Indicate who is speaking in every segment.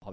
Speaker 1: Har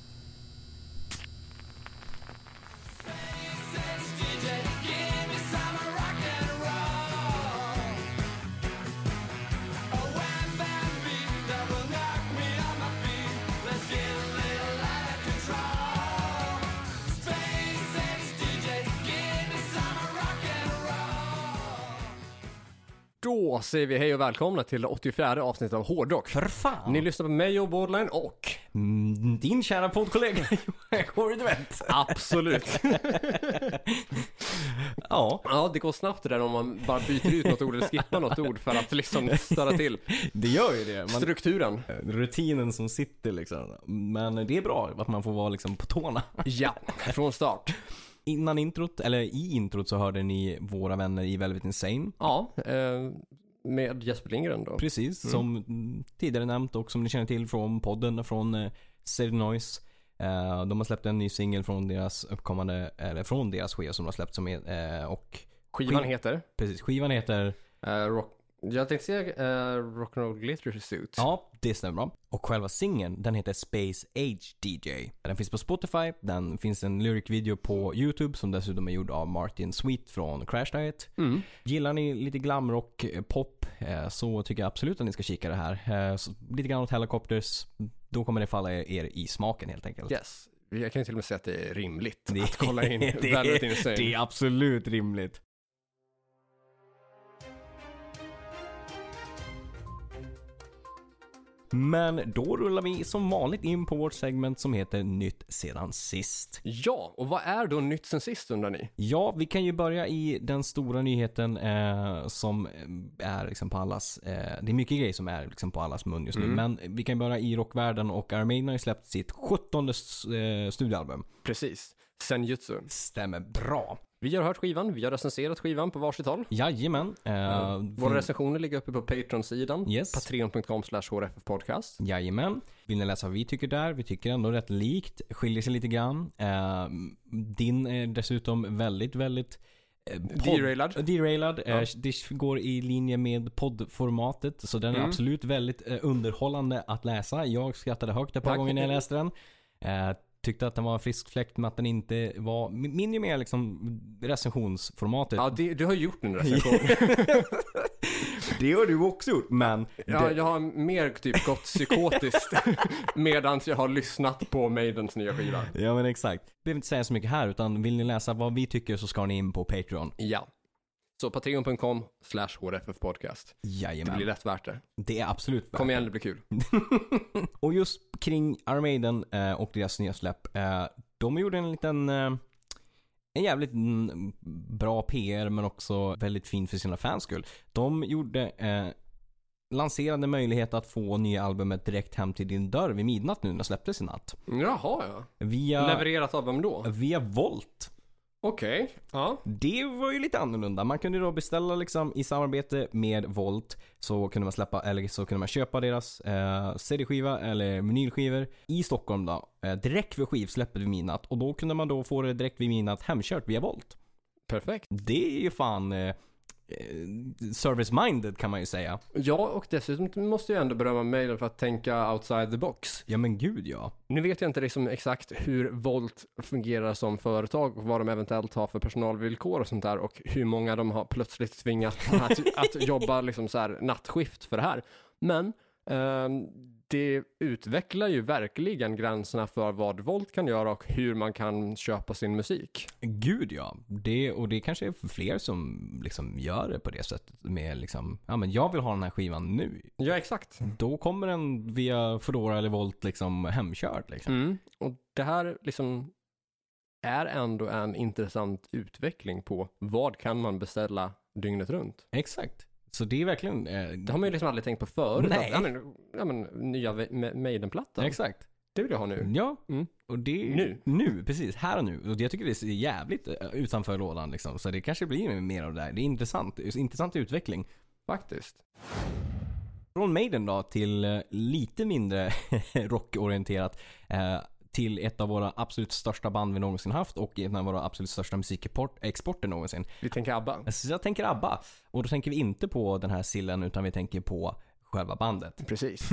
Speaker 1: Då säger vi hej och välkomna till det 84 avsnittet av Hårdrock.
Speaker 2: För fan!
Speaker 1: Ni lyssnar på mig och Borderline och
Speaker 2: Mm, din kära poddkollega Johan Kårdevent.
Speaker 1: absolut.
Speaker 2: Ja,
Speaker 1: ja, det går snabbt det där om man bara byter ut något ord eller skippar något ord för att liksom störa till
Speaker 2: det gör ju det. Man,
Speaker 1: strukturen.
Speaker 2: rutinen som sitter liksom. Men det är bra att man får vara liksom på tårna.
Speaker 1: Ja, från start.
Speaker 2: Innan introt, eller i introt så hörde ni våra vänner i Velvet Insane.
Speaker 1: Ja, eh, med Jesper Lindgren då.
Speaker 2: Precis, som mm, tidigare nämnt och som ni känner till från podden från eh, Save the Noise. Eh, de har släppt en ny singel från deras uppkommande, eller från deras skiva som de har släppt som är, eh, och
Speaker 1: Skivan
Speaker 2: Skiv-
Speaker 1: heter
Speaker 2: precis, skivan heter
Speaker 1: eh, Rock... Jag tänkte säga eh, Rock'n'Roll Glitter Suit.
Speaker 2: Ja, det stämmer bra. Och själva singeln, den heter Space Age DJ. Den finns på Spotify, den finns en lyricvideo på YouTube som dessutom är gjord av Martin Sweet från Crash Diet.
Speaker 1: Mm.
Speaker 2: Gillar ni lite glamrock, eh, pop, eh, så tycker jag absolut att ni ska kika det här. Eh, så Lite grann åt Helicopters, då kommer det falla er er i smaken helt enkelt.
Speaker 1: Yes. Jag kan ju till och med säga att det är rimligt
Speaker 2: Det-
Speaker 1: att kolla in
Speaker 2: det-
Speaker 1: Velvet Insane.
Speaker 2: Det är absolut rimligt. Men då rullar vi som vanligt in på vårt segment som heter Nytt sedan sist.
Speaker 1: Ja, och vad är då nytt sen sist undrar ni?
Speaker 2: Ja, vi kan ju börja i den stora nyheten eh, som är liksom på allas, eh, det är mycket grejer som är liksom på allas mun just nu, men vi kan börja i rockvärlden och Armain har ju släppt sitt 17 eh, studioalbum.
Speaker 1: Precis, Senjutsu.
Speaker 2: Stämmer bra.
Speaker 1: Vi har hört skivan, vi har recenserat skivan på varsitt håll.
Speaker 2: Jajamän. Eh,
Speaker 1: Våra recensioner ligger uppe på Patreon-sidan,
Speaker 2: Yes.
Speaker 1: patreon.com slash hrffpodcast.
Speaker 2: Jajamän. Vill ni läsa vad vi tycker där? Vi tycker ändå rätt likt. Skiljer sig lite grann. Eh, din är dessutom väldigt, väldigt... eh, podd-
Speaker 1: Derailad.
Speaker 2: Derailad.
Speaker 1: Ja.
Speaker 2: Eh, det går i linje med poddformatet. Så den är
Speaker 1: Mm.
Speaker 2: absolut väldigt eh, underhållande att läsa. Jag skrattade högt ett par
Speaker 1: Tack.
Speaker 2: gånger när jag läste den. Eh, tyckte att den var en frisk fläkt men att den inte var... Min min är mer liksom recensionsformatet.
Speaker 1: Ja, det, du har ju gjort en recension.
Speaker 2: det har du också gjort. Men...
Speaker 1: ja, jag har mer typ gått psykotiskt medan jag har lyssnat på Maidens nya skiva.
Speaker 2: Ja men exakt. Behöver inte säga så mycket här utan vill ni läsa vad vi tycker så ska ni in på Patreon.
Speaker 1: Ja. Så patreon.com slash hrffpodcast. Det
Speaker 2: Jajamän.
Speaker 1: blir rätt värt det.
Speaker 2: Det är absolut värt
Speaker 1: Kom
Speaker 2: det.
Speaker 1: igen, det blir kul.
Speaker 2: Och just kring Armaden eh, och deras nya släpp. Eh, de gjorde en liten eh, en jävligt mm, bra PR men också väldigt fin för sina fans skull. De gjorde eh, lanserade möjlighet att få nya albumet direkt hem till din dörr vid midnatt nu när det släpptes i natt.
Speaker 1: Jaha, ja.
Speaker 2: Via,
Speaker 1: Levererat av vem då?
Speaker 2: via Volt.
Speaker 1: Okej. Ja.
Speaker 2: Det var ju lite annorlunda. Man kunde då beställa liksom i samarbete med Volt så kunde man släppa, eller så kunde man köpa deras eh, CD-skiva eller vinylskivor i Stockholm då. Eh, direkt vid skivsläppet vid midnatt och då kunde man då få det direkt vid midnatt hemkört via Volt.
Speaker 1: Perfekt.
Speaker 2: Det är ju fan eh, eh, service-minded kan man ju säga.
Speaker 1: Ja, och dessutom måste jag ändå berömma mejlen för att tänka outside the box.
Speaker 2: Ja men gud ja.
Speaker 1: Nu vet jag inte liksom exakt hur Volt fungerar som företag och vad de eventuellt har för personalvillkor och sånt där och hur många de har plötsligt tvingat att, att jobba liksom så här nattskift för det här. Men ehm, det utvecklar ju verkligen gränserna för vad Volt kan göra och hur man kan köpa sin musik.
Speaker 2: Gud ja. Det, och det kanske är fler som liksom gör det på det sättet med liksom, ja men jag vill ha den här skivan nu.
Speaker 1: Ja, exakt.
Speaker 2: Då kommer den via Foodora eller Volt liksom hemkörd. Liksom.
Speaker 1: Mm. Och det här liksom är ändå en intressant utveckling på vad kan man beställa dygnet runt.
Speaker 2: Exakt. Så det är verkligen... Eh,
Speaker 1: Det har man ju liksom aldrig tänkt på förut. Att,
Speaker 2: Nej.
Speaker 1: Ja, men, ja, men, nya Ve- Ma- Maiden-plattan,
Speaker 2: Exakt.
Speaker 1: det vill jag ha nu.
Speaker 2: Ja.
Speaker 1: Mm.
Speaker 2: Och det,
Speaker 1: Nu.
Speaker 2: Nu, precis. Här och nu. Och jag tycker det är jävligt eh, utanför lådan liksom. Så det kanske blir mer av det här. Det är intressant. Det är Intressant utveckling.
Speaker 1: Faktiskt.
Speaker 2: Från Maiden då till eh, lite mindre rockorienterat. Eh, till ett av våra absolut största band vi någonsin haft och en av våra absolut största musikexporter någonsin.
Speaker 1: Vi tänker ABBA.
Speaker 2: Så jag tänker ABBA. Och då tänker vi inte på den här sillen utan vi tänker på själva bandet. Mm.
Speaker 1: Precis.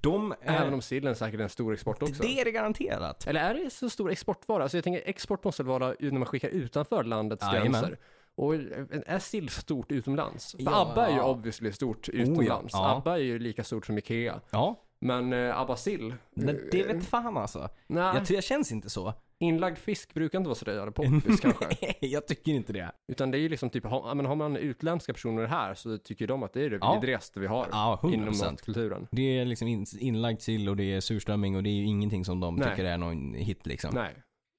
Speaker 2: De, eh,
Speaker 1: Även om sillen säkert är en stor export också.
Speaker 2: det är det garanterat.
Speaker 1: Eller är det så stor exportvara? Alltså jag tänker export måste vara ju när man skickar utanför landets
Speaker 2: Jajamän.
Speaker 1: gränser. Och eh, är sill stort utomlands? För
Speaker 2: Ja. Oh,
Speaker 1: ABBA är ju obviously stort utomlands.
Speaker 2: ja.
Speaker 1: ABBA är ju lika stort som Ikea.
Speaker 2: Ja,
Speaker 1: Men eh, ABBA sill?
Speaker 2: men det vet fan alltså.
Speaker 1: Nej,
Speaker 2: Jag, ty- jag känns inte så.
Speaker 1: inlagd fisk brukar inte vara så där poppis kanske.
Speaker 2: jag tycker inte det.
Speaker 1: Utan det är ju liksom typ, har, ja, men har man utländska personer här så tycker de att det är det
Speaker 2: Ja.
Speaker 1: vidrigaste vi har
Speaker 2: Ja, 100%.
Speaker 1: inom matkulturen.
Speaker 2: Det är liksom in, inlagd sill och det är surströmming och det är ju ingenting som de
Speaker 1: Nej.
Speaker 2: tycker är någon hit liksom.
Speaker 1: Nej,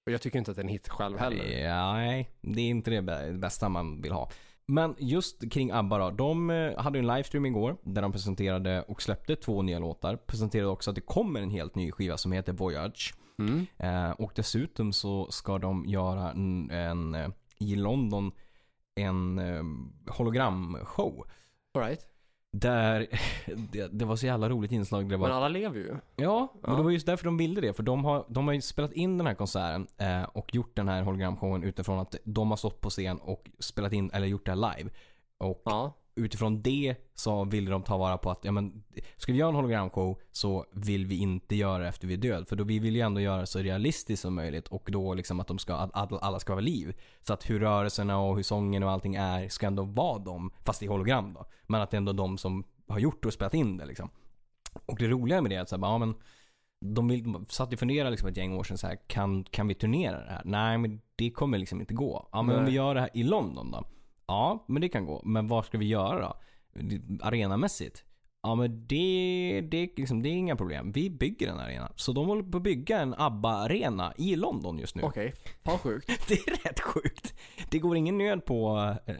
Speaker 1: och jag tycker inte att det är en hit själv heller.
Speaker 2: Ja, nej, det är inte det bä- bästa man vill ha. Men just kring ABBA då. De eh, hade en livestream igår där de presenterade och släppte två nya låtar. Presenterade också att det kommer en helt ny skiva som heter Voyage.
Speaker 1: Mm.
Speaker 2: Eh, och dessutom så ska de göra en, en eh, i London, en eh, hologramshow.
Speaker 1: All right.
Speaker 2: Där det, det var så jävla roligt inslag. Det var
Speaker 1: Men alla lever ju.
Speaker 2: Ja, men
Speaker 1: Ja.
Speaker 2: det var just därför de ville det. För de har, de har ju spelat in den här konserten eh, och gjort den här hologramshowen utifrån att de har stått på scen och spelat in, eller gjort det här live. Och
Speaker 1: Ja.
Speaker 2: utifrån det så ville de ta vara på att, ja men, ska vi göra en hologramshow så vill vi inte göra det efter vi är död. För då vi vill ju ändå göra det så realistiskt som möjligt och då liksom att de ska, att alla- alla ska vara liv. Så att hur rörelserna och hur sången och allting är ska ändå vara de, fast i hologram då. Men att det är ändå de som har gjort och spelat in det liksom. Och det roliga med det är att så här, bara, ja, men de, vill, de satt ju och funderade liksom ett gäng år sedan så här, kan, kan vi turnera det här? Nej, men det kommer liksom inte gå. Ja, men om vi
Speaker 1: Nej.
Speaker 2: gör det här i London då? Ja, men det kan gå. Men var ska vi göra då? Det- Arenamässigt? Ja, men det, det, liksom, det är inga problem. Vi bygger en arena. Så de håller på att bygga en ABBA-arena i London just nu.
Speaker 1: Okej, fan sjukt.
Speaker 2: Det är rätt sjukt. Det går ingen nöd på, eh,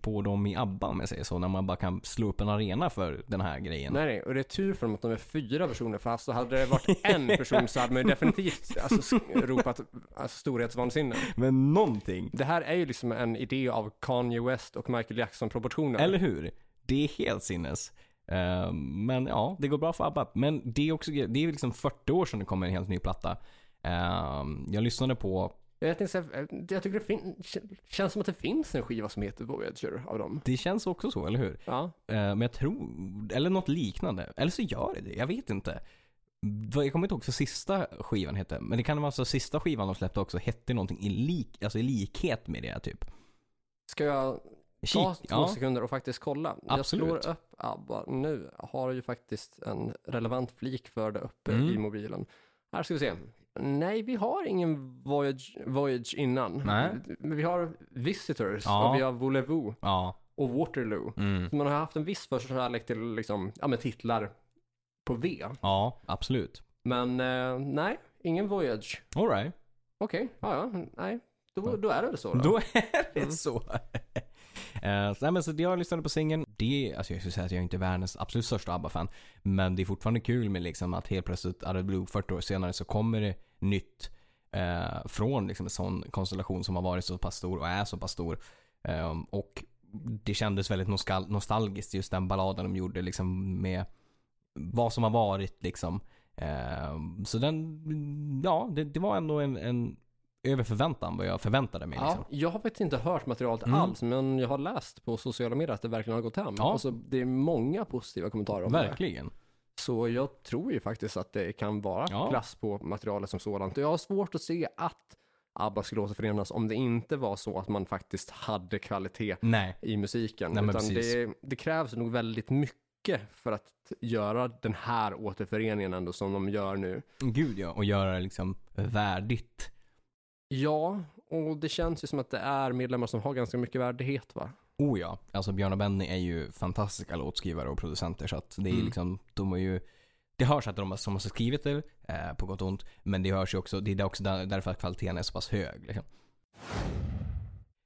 Speaker 2: på dem i ABBA om jag säger så. När man bara kan slå upp en arena för den här grejen.
Speaker 1: Nej, nej, och det är tur för dem att de är fyra personer, för alltså hade det varit en person så hade man ju definitivt alltså, sk- ropat alltså, storhetsvansinne.
Speaker 2: Men någonting.
Speaker 1: Det här är ju liksom en idé av Kanye West och Michael Jackson-proportioner.
Speaker 2: Eller hur? Det är helt sinnes. Eh, men ja, det går bra för ABBA. Men det är också det är liksom 40 år sedan det kom en helt ny platta. Eh, jag lyssnade på
Speaker 1: Jag, tänkte, säga, jag tycker det fin- k- känns som att det finns en skiva som heter Voyager av dem.
Speaker 2: det känns också så, eller hur?
Speaker 1: Ja,
Speaker 2: Eh, Men jag tror, eller något liknande. Eller så gör det det, jag vet inte. Vad- Jag kommer inte ihåg vad sista skivan hette. Men det kan vara så att sista skivan de släppte också hette någonting i, lik, alltså i likhet med det typ.
Speaker 1: ska jag
Speaker 2: Kik,
Speaker 1: ta två
Speaker 2: ja.
Speaker 1: sekunder och faktiskt kolla?
Speaker 2: Absolut.
Speaker 1: Jag slår upp ABBA nu. Har ju faktiskt en relevant flik för det uppe
Speaker 2: Mm.
Speaker 1: i mobilen. Här ska vi se. Nej, vi har ingen Voyage, voyage innan.
Speaker 2: Nej.
Speaker 1: Men vi har Visitors
Speaker 2: Ja.
Speaker 1: och vi har Voulez-Vous
Speaker 2: Ja.
Speaker 1: och Waterloo.
Speaker 2: Mm.
Speaker 1: Så man har haft en viss förkärlek till liksom, ja, men titlar på V.
Speaker 2: Ja, absolut.
Speaker 1: Men eh, nej, ingen Voyage.
Speaker 2: Alright.
Speaker 1: Okej, ja, ja, nej. Då, då är det väl så då. Mm.
Speaker 2: Då är det så. Eh, så, nej, men så jag lyssnade på singeln. Det, alltså jag skulle säga att jag är inte världens absolut största ABBA-fan. Men det är fortfarande kul med liksom att helt plötsligt, out of the blue, 40 år senare så kommer det nytt eh, från liksom en sån konstellation som har varit så pass stor och är så pass stor. Ehm, och det kändes väldigt nostal- nostalgiskt just den balladen de gjorde liksom med vad som har varit liksom. Ehm, så den, ja, det, det var ändå en, en över förväntan vad jag förväntade mig. Liksom.
Speaker 1: Ja, jag har faktiskt inte hört materialet
Speaker 2: Mm.
Speaker 1: alls, men jag har läst på sociala medier att det verkligen har gått hem.
Speaker 2: Ja.
Speaker 1: Alltså, det är många positiva kommentarer om det.
Speaker 2: Verkligen.
Speaker 1: Så jag tror ju faktiskt att det kan vara
Speaker 2: Ja.
Speaker 1: klass på materialet som sådant. Jag har svårt att se att ABBA skulle återförenas om det inte var så att man faktiskt hade kvalitet
Speaker 2: Nej.
Speaker 1: i musiken.
Speaker 2: Nej, men
Speaker 1: utan
Speaker 2: precis.
Speaker 1: det, det krävs nog väldigt mycket för att göra den här återföreningen ändå som de gör nu.
Speaker 2: Gud ja, och göra det liksom värdigt.
Speaker 1: Ja, och det känns ju som att det är medlemmar som har ganska mycket värdighet va?
Speaker 2: Oh ja, alltså Björn och Benny är ju fantastiska låtskrivare och producenter så att det är
Speaker 1: Mm.
Speaker 2: liksom, de är ju det hörs att de har- som har skrivit det, eh, på gott och ont, men det hörs ju också, det är också där, därför att kvaliteten är så pass hög. Liksom.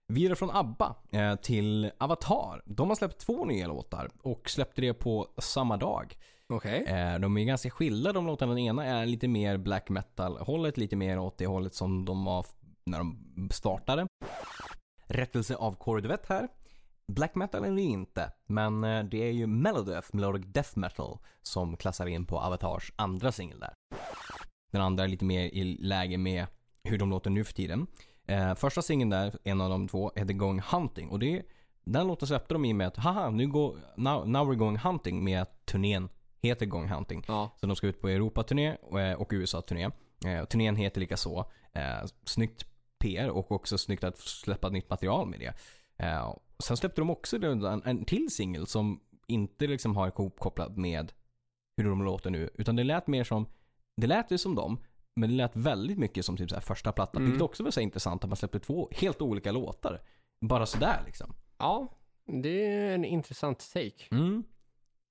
Speaker 2: Vidare från ABBA eh, till Avatar. De har släppt två nya låtar och släppte det på samma dag.
Speaker 1: Okej.
Speaker 2: Eh, de är ganska skilda de låtarna. Den ena är lite mer black metal-hållet, lite mer åt det hållet som de var f- när de startade. Rättelse av Corduvet här. Black metal är det inte, men eh, det är ju Melodeath, Melodic Death Metal, som klassar in på Avatars andra singel där. Den andra är lite mer i läge med hur de låter nu för tiden. Eh, första singeln där, en av de två, heter Going Hunting och det Den låten släppte de i med att haha, nu går, now, now we're going hunting med att turnén heter Going Hunting.
Speaker 1: Ja.
Speaker 2: Så de ska ut på Europaturné och, eh, och USA-turné. Eh, Turnén heter lika så. Eh, Snyggt PR och också snyggt att släppa nytt material med det. Eh, Sen släppte de också en, en till singel som inte liksom har ihopkopplat med hur de låter nu. Utan det lät mer som, det lät ju som dem, men det lät väldigt mycket som typ så här första plattan.
Speaker 1: Mm.
Speaker 2: Vilket också var så här intressant att man släppte två helt olika låtar. Bara sådär liksom.
Speaker 1: ja, det är en intressant take.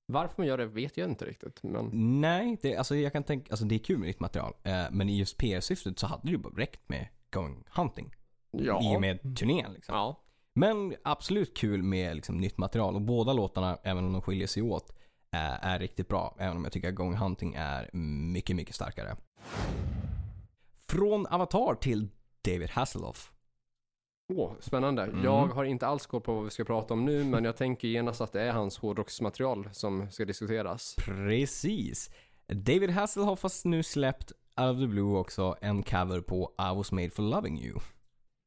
Speaker 1: Varför man gör det vet jag inte riktigt. Men
Speaker 2: Nej, det, alltså jag kan tänka, alltså det är kul med ditt material. Eh, men i just PR-syftet så hade det ju bara räckt med Going Hunting.
Speaker 1: ja. Mm.
Speaker 2: I och med turnén liksom.
Speaker 1: Ja.
Speaker 2: Men absolut kul med liksom, nytt material. Och båda låtarna, även om de skiljer sig åt, eh, är riktigt bra. Även om jag tycker att Going Hunting är mycket, mycket starkare. Från Avatar till David Hasselhoff.
Speaker 1: Åh, spännande.
Speaker 2: Mm.
Speaker 1: Jag har inte alls koll på vad vi ska prata om nu, men jag tänker genast att det är hans hårdrocksmaterial som ska diskuteras.
Speaker 2: Precis. David Hasselhoff har nu släppt Out of the Blue också en cover på I was made for loving you.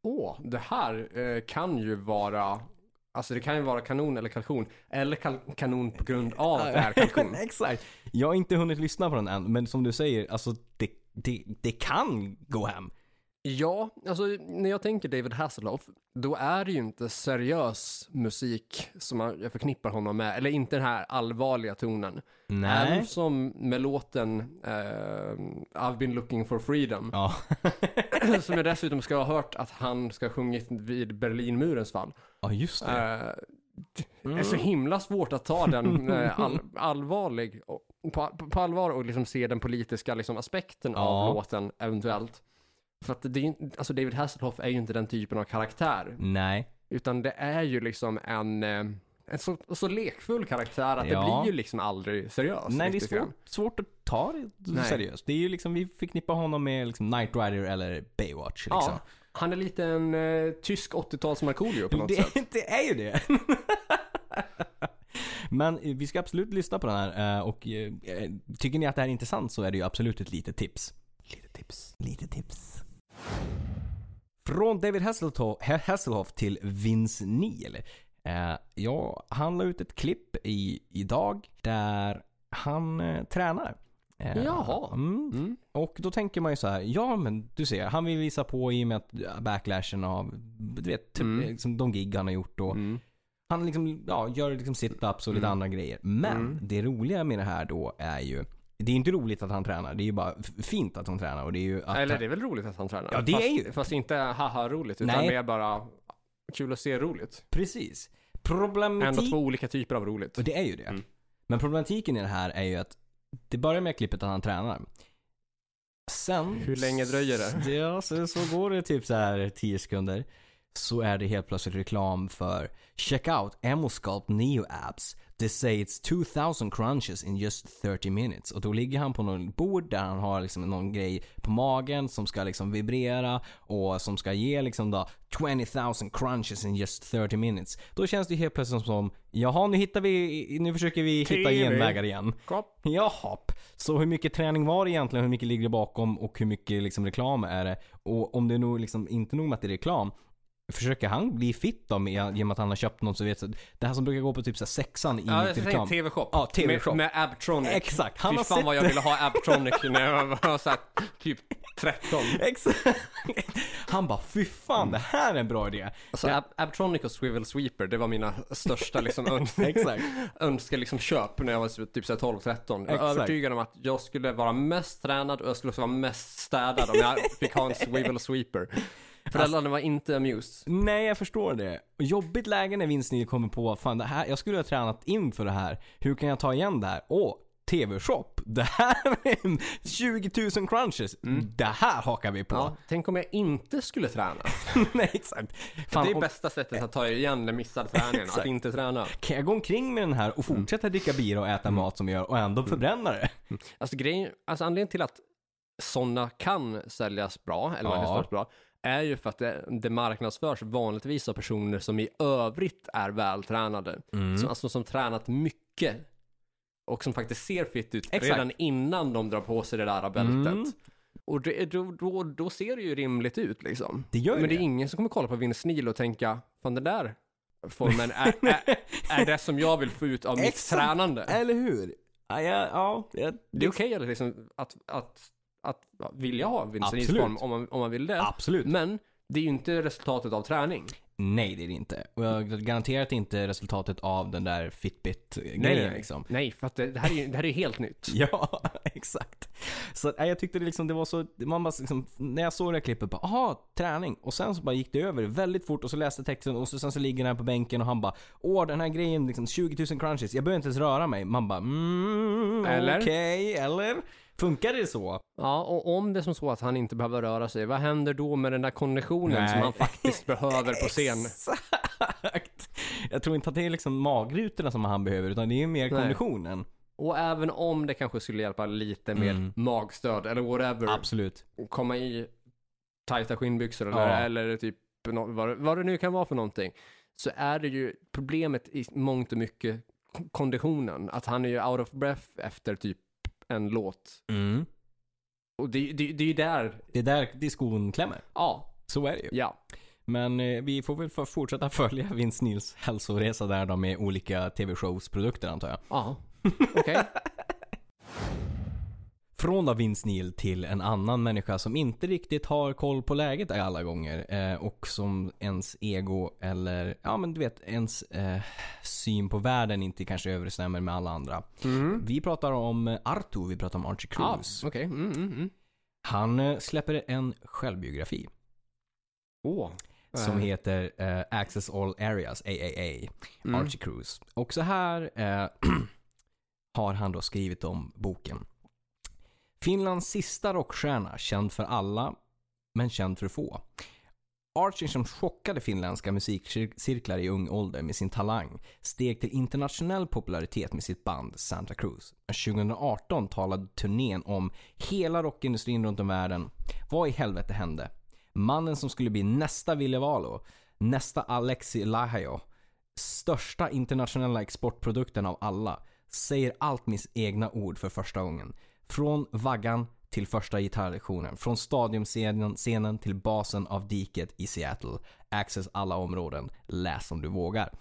Speaker 1: Åh, det här eh, kan ju vara... Alltså det kan ju vara kanon eller kalkon. Eller kal- kanon på grund av att det är kalkon.
Speaker 2: Exakt. Jag har inte hunnit lyssna på den än, men som du säger, alltså det, det, det kan gå hem.
Speaker 1: Ja, alltså när jag tänker David Hasselhoff, då är det ju inte seriös musik som man- jag förknippar honom med. Eller inte den här allvarliga tonen. Även som med låten eh, I've been looking for freedom.
Speaker 2: Ja.
Speaker 1: som jag dessutom ska ha hört att han ska ha sjungit vid Berlinmurens fall.
Speaker 2: ja, just det.
Speaker 1: Eh, Det är
Speaker 2: Mm.
Speaker 1: så himla svårt att ta den eh, all, allvarlig, och- på, på allvar och liksom se den politiska liksom, aspekten
Speaker 2: Ja.
Speaker 1: av låten eventuellt. För att det är, ju inte- alltså David Hasselhoff är ju inte den typen av karaktär,
Speaker 2: Nej.
Speaker 1: utan det är ju liksom en, eh, en så, så lekfull karaktär att
Speaker 2: Ja.
Speaker 1: det blir ju liksom aldrig seriöst.
Speaker 2: Nej, det är
Speaker 1: riktigt grann.
Speaker 2: svårt, svårt att ta det
Speaker 1: Nej.
Speaker 2: seriöst. Det är ju liksom, vi förknippar honom med liksom Knight Rider eller Baywatch liksom.
Speaker 1: Ja, han är lite en eh, tysk 80-tals Markoolio på något sätt.
Speaker 2: det, det är ju det. Men eh, vi ska absolut lyssna på den här eh, och eh, eh, tycker ni att det här är intressant så är det ju absolut ett litet tips. Lite tips. Lite tips. Från David Hasselhoff, Hasselhoff till Vince Neil. Eh, ja, han la ut ett klipp i, idag där han eh, tränar. Eh,
Speaker 1: Jaha.
Speaker 2: Mm,
Speaker 1: Mm.
Speaker 2: och då tänker man ju så här, ja men du ser, han vill visa på i och med att backlashen av, du vet, typ,
Speaker 1: Mm.
Speaker 2: liksom, de gig han har gjort och
Speaker 1: Mm.
Speaker 2: han liksom, ja, gör liksom sit-ups och lite
Speaker 1: Mm.
Speaker 2: andra grejer. Men
Speaker 1: Mm.
Speaker 2: det roliga med det här då är ju, det är inte roligt att han tränar, det är ju bara f- fint att han tränar och det är ju att
Speaker 1: Eller det är väl roligt att han tränar?
Speaker 2: Ja, det
Speaker 1: fast,
Speaker 2: är ju.
Speaker 1: Fast inte haha-roligt, utan
Speaker 2: Nej.
Speaker 1: mer bara kul att se-roligt.
Speaker 2: Precis.
Speaker 1: Ändå
Speaker 2: Problematik...
Speaker 1: två olika typer av roligt.
Speaker 2: Och det är ju det.
Speaker 1: Mm.
Speaker 2: Men problematiken i det här är ju att det börjar med klippet att han tränar. Sen...
Speaker 1: Hur länge dröjer det?
Speaker 2: Ja, sen så går det typ så här 10 sekunder. Så är det helt plötsligt reklam för Check out Emosculpt Neo Apps. They say it's 2000 crunches in just 30 minutes. Och då ligger han på någon bord där han har liksom någon grej på magen som ska liksom vibrera och som ska ge liksom då 20,000 crunches in just 30 minutes. Då känns det helt plötsligt som, jaha nu hittar vi, nu försöker vi hitta
Speaker 1: TV.
Speaker 2: genvägar igen.
Speaker 1: Kopp.
Speaker 2: Jaha. Så hur mycket träning var det egentligen? Hur mycket ligger det bakom? Och hur mycket liksom reklam är det? Och om det nog liksom inte nog med att det är reklam. Försöker han bli fit då med, genom att han har köpt något så vet så- Det här som brukar gå på typ så här sexan i
Speaker 1: Ja, jag
Speaker 2: reklam.
Speaker 1: tänkte TV-shop.
Speaker 2: Ja, TV-shop.
Speaker 1: Med, med Abtronic.
Speaker 2: Exakt.
Speaker 1: Fy
Speaker 2: Han har
Speaker 1: fan vad
Speaker 2: sett
Speaker 1: jag
Speaker 2: det.
Speaker 1: ville ha Abtronic när jag var såhär, typ 13.
Speaker 2: Exakt. Han bara fy fan det här är en bra idé.
Speaker 1: Alltså Ab- Abtronic och Swivel Sweeper, det var mina största liksom ön-
Speaker 2: Exakt.
Speaker 1: önska liksom köp när jag var typ 12-13. Jag
Speaker 2: Exakt.
Speaker 1: är övertygad om att jag skulle vara mest tränad och jag skulle också vara mest städad om jag fick ha en swivel sweeper. Föräldrarna var inte amused.
Speaker 2: Nej jag förstår det. Jobbigt läge när Vince Neil kommer på fan det här, jag skulle ha tränat in för det här. Hur kan jag ta igen det här? Åh, TV-shop. Det här är 20 000 crunches. Det här hakar vi på.
Speaker 1: Mm. Ja, tänk om jag inte skulle träna. Eh,
Speaker 2: Nej exakt. Fan,
Speaker 1: det är
Speaker 2: om,
Speaker 1: bästa sättet att ta igen den missade träningen, att
Speaker 2: Exakt.
Speaker 1: inte träna.
Speaker 2: kan jag gå omkring med den här och
Speaker 1: Mm.
Speaker 2: fortsätta dricka bira och äta mat som jag gör och ändå förbränna det?
Speaker 1: Alltså grejen, alltså anledningen till att sådana kan säljas bra, eller
Speaker 2: Ja.
Speaker 1: marknadsföras bra, är ju för att det, det marknadsförs vanligtvis av personer som i övrigt är vältränade. Som, alltså som tränat mycket och som faktiskt ser fit ut
Speaker 2: Exakt.
Speaker 1: redan innan de drar på sig det där bältet.
Speaker 2: Mm.
Speaker 1: Och det, då, då, då ser det ju rimligt ut liksom.
Speaker 2: Det gör ju
Speaker 1: Men det är
Speaker 2: det.
Speaker 1: ingen som kommer kolla på Vince Neil och tänka, fan det där formen är, är, är det som jag vill få ut av mitt
Speaker 2: Exakt.
Speaker 1: tränande.
Speaker 2: Eller hur?
Speaker 1: Ah,
Speaker 2: Ja, ja, ja, jag-
Speaker 1: Det är okej eller liksom, att, att, att, att vilja ha
Speaker 2: Absolut.
Speaker 1: vinstform om man, om man vill det.
Speaker 2: absolut.
Speaker 1: Men det är ju inte resultatet av träning.
Speaker 2: Nej, det är det inte. Och jag garanterat inte resultatet av den där Fitbit-grejen liksom.
Speaker 1: Nej, för att det, det här är ju det här är ju helt nytt.
Speaker 2: Ja, exakt. Så nej, jag tyckte det, liksom, det var så, man bara liksom, när jag såg det här klippet bara, aha, träning. Och sen så bara gick det över väldigt fort och så läste jag texten och så, sen så ligger den här på bänken och han bara, åh den här grejen, liksom 20 000 crunches, jag behöver inte ens röra mig. Man bara, mm,
Speaker 1: Eller?
Speaker 2: okej, eller? Funkar det så?
Speaker 1: Ja, och om det är som så att han inte behöver röra sig, vad händer då med den där konditionen
Speaker 2: Nej.
Speaker 1: som han faktiskt behöver på scen?
Speaker 2: Exakt! Jag tror inte att det är liksom magrutorna som han behöver, utan det är mer
Speaker 1: Nej.
Speaker 2: konditionen.
Speaker 1: Och även om det kanske skulle hjälpa lite med
Speaker 2: Mm.
Speaker 1: magstöd eller whatever,
Speaker 2: Absolut.
Speaker 1: komma i tajta skinnbyxor eller,
Speaker 2: Ja.
Speaker 1: eller typ nå- vad, vad det nu kan vara för någonting, så är det ju problemet i mångt och mycket k- konditionen. Att han är ju out of breath efter typ en låt.
Speaker 2: Mm.
Speaker 1: Och det, det, det är ju där,
Speaker 2: Det är där det är skon klämmer.
Speaker 1: ja,
Speaker 2: Så är det ju.
Speaker 1: ja.
Speaker 2: Men eh, vi får väl för- fortsätta följa Vince Nils hälsoresa där då med olika TV-shows produkter antar jag.
Speaker 1: Ja, okej.
Speaker 2: Från då Vince Neil till en annan människa som inte riktigt har koll på läget där alla gånger. eh, Och som ens ego eller, ja men du vet, ens eh, syn på världen inte kanske överensstämmer med alla andra.
Speaker 1: Mm.
Speaker 2: Vi pratar om eh, Artu, vi pratar om Archie
Speaker 1: Ja,
Speaker 2: Cruz.
Speaker 1: okej. Mm, mm, mm.
Speaker 2: Han eh, släpper en självbiografi
Speaker 1: Åh.
Speaker 2: som
Speaker 1: Eh,
Speaker 2: heter eh, Access All Areas, AAA.
Speaker 1: mm.
Speaker 2: Archie Cruz. Och så här eh, har han då skrivit om boken. Finlands sista rockstjärna, känd för alla, men känd för få. Archie som chockade finländska musikcirklar i ung ålder med sin talang steg till internationell popularitet med sitt band Santa Cruz. 2018 talade turnén om hela rockindustrin runt om i världen. Vad i helvete hände? Mannen som skulle bli nästa Ville Valo, nästa Alexi Lahayo, största internationella exportprodukten av alla säger allt med egna ord för första gången. Från vaggan till första gitarrlektionen, från stadiumscenen scenen till basen av diket i Seattle. Access alla områden, läs om du vågar.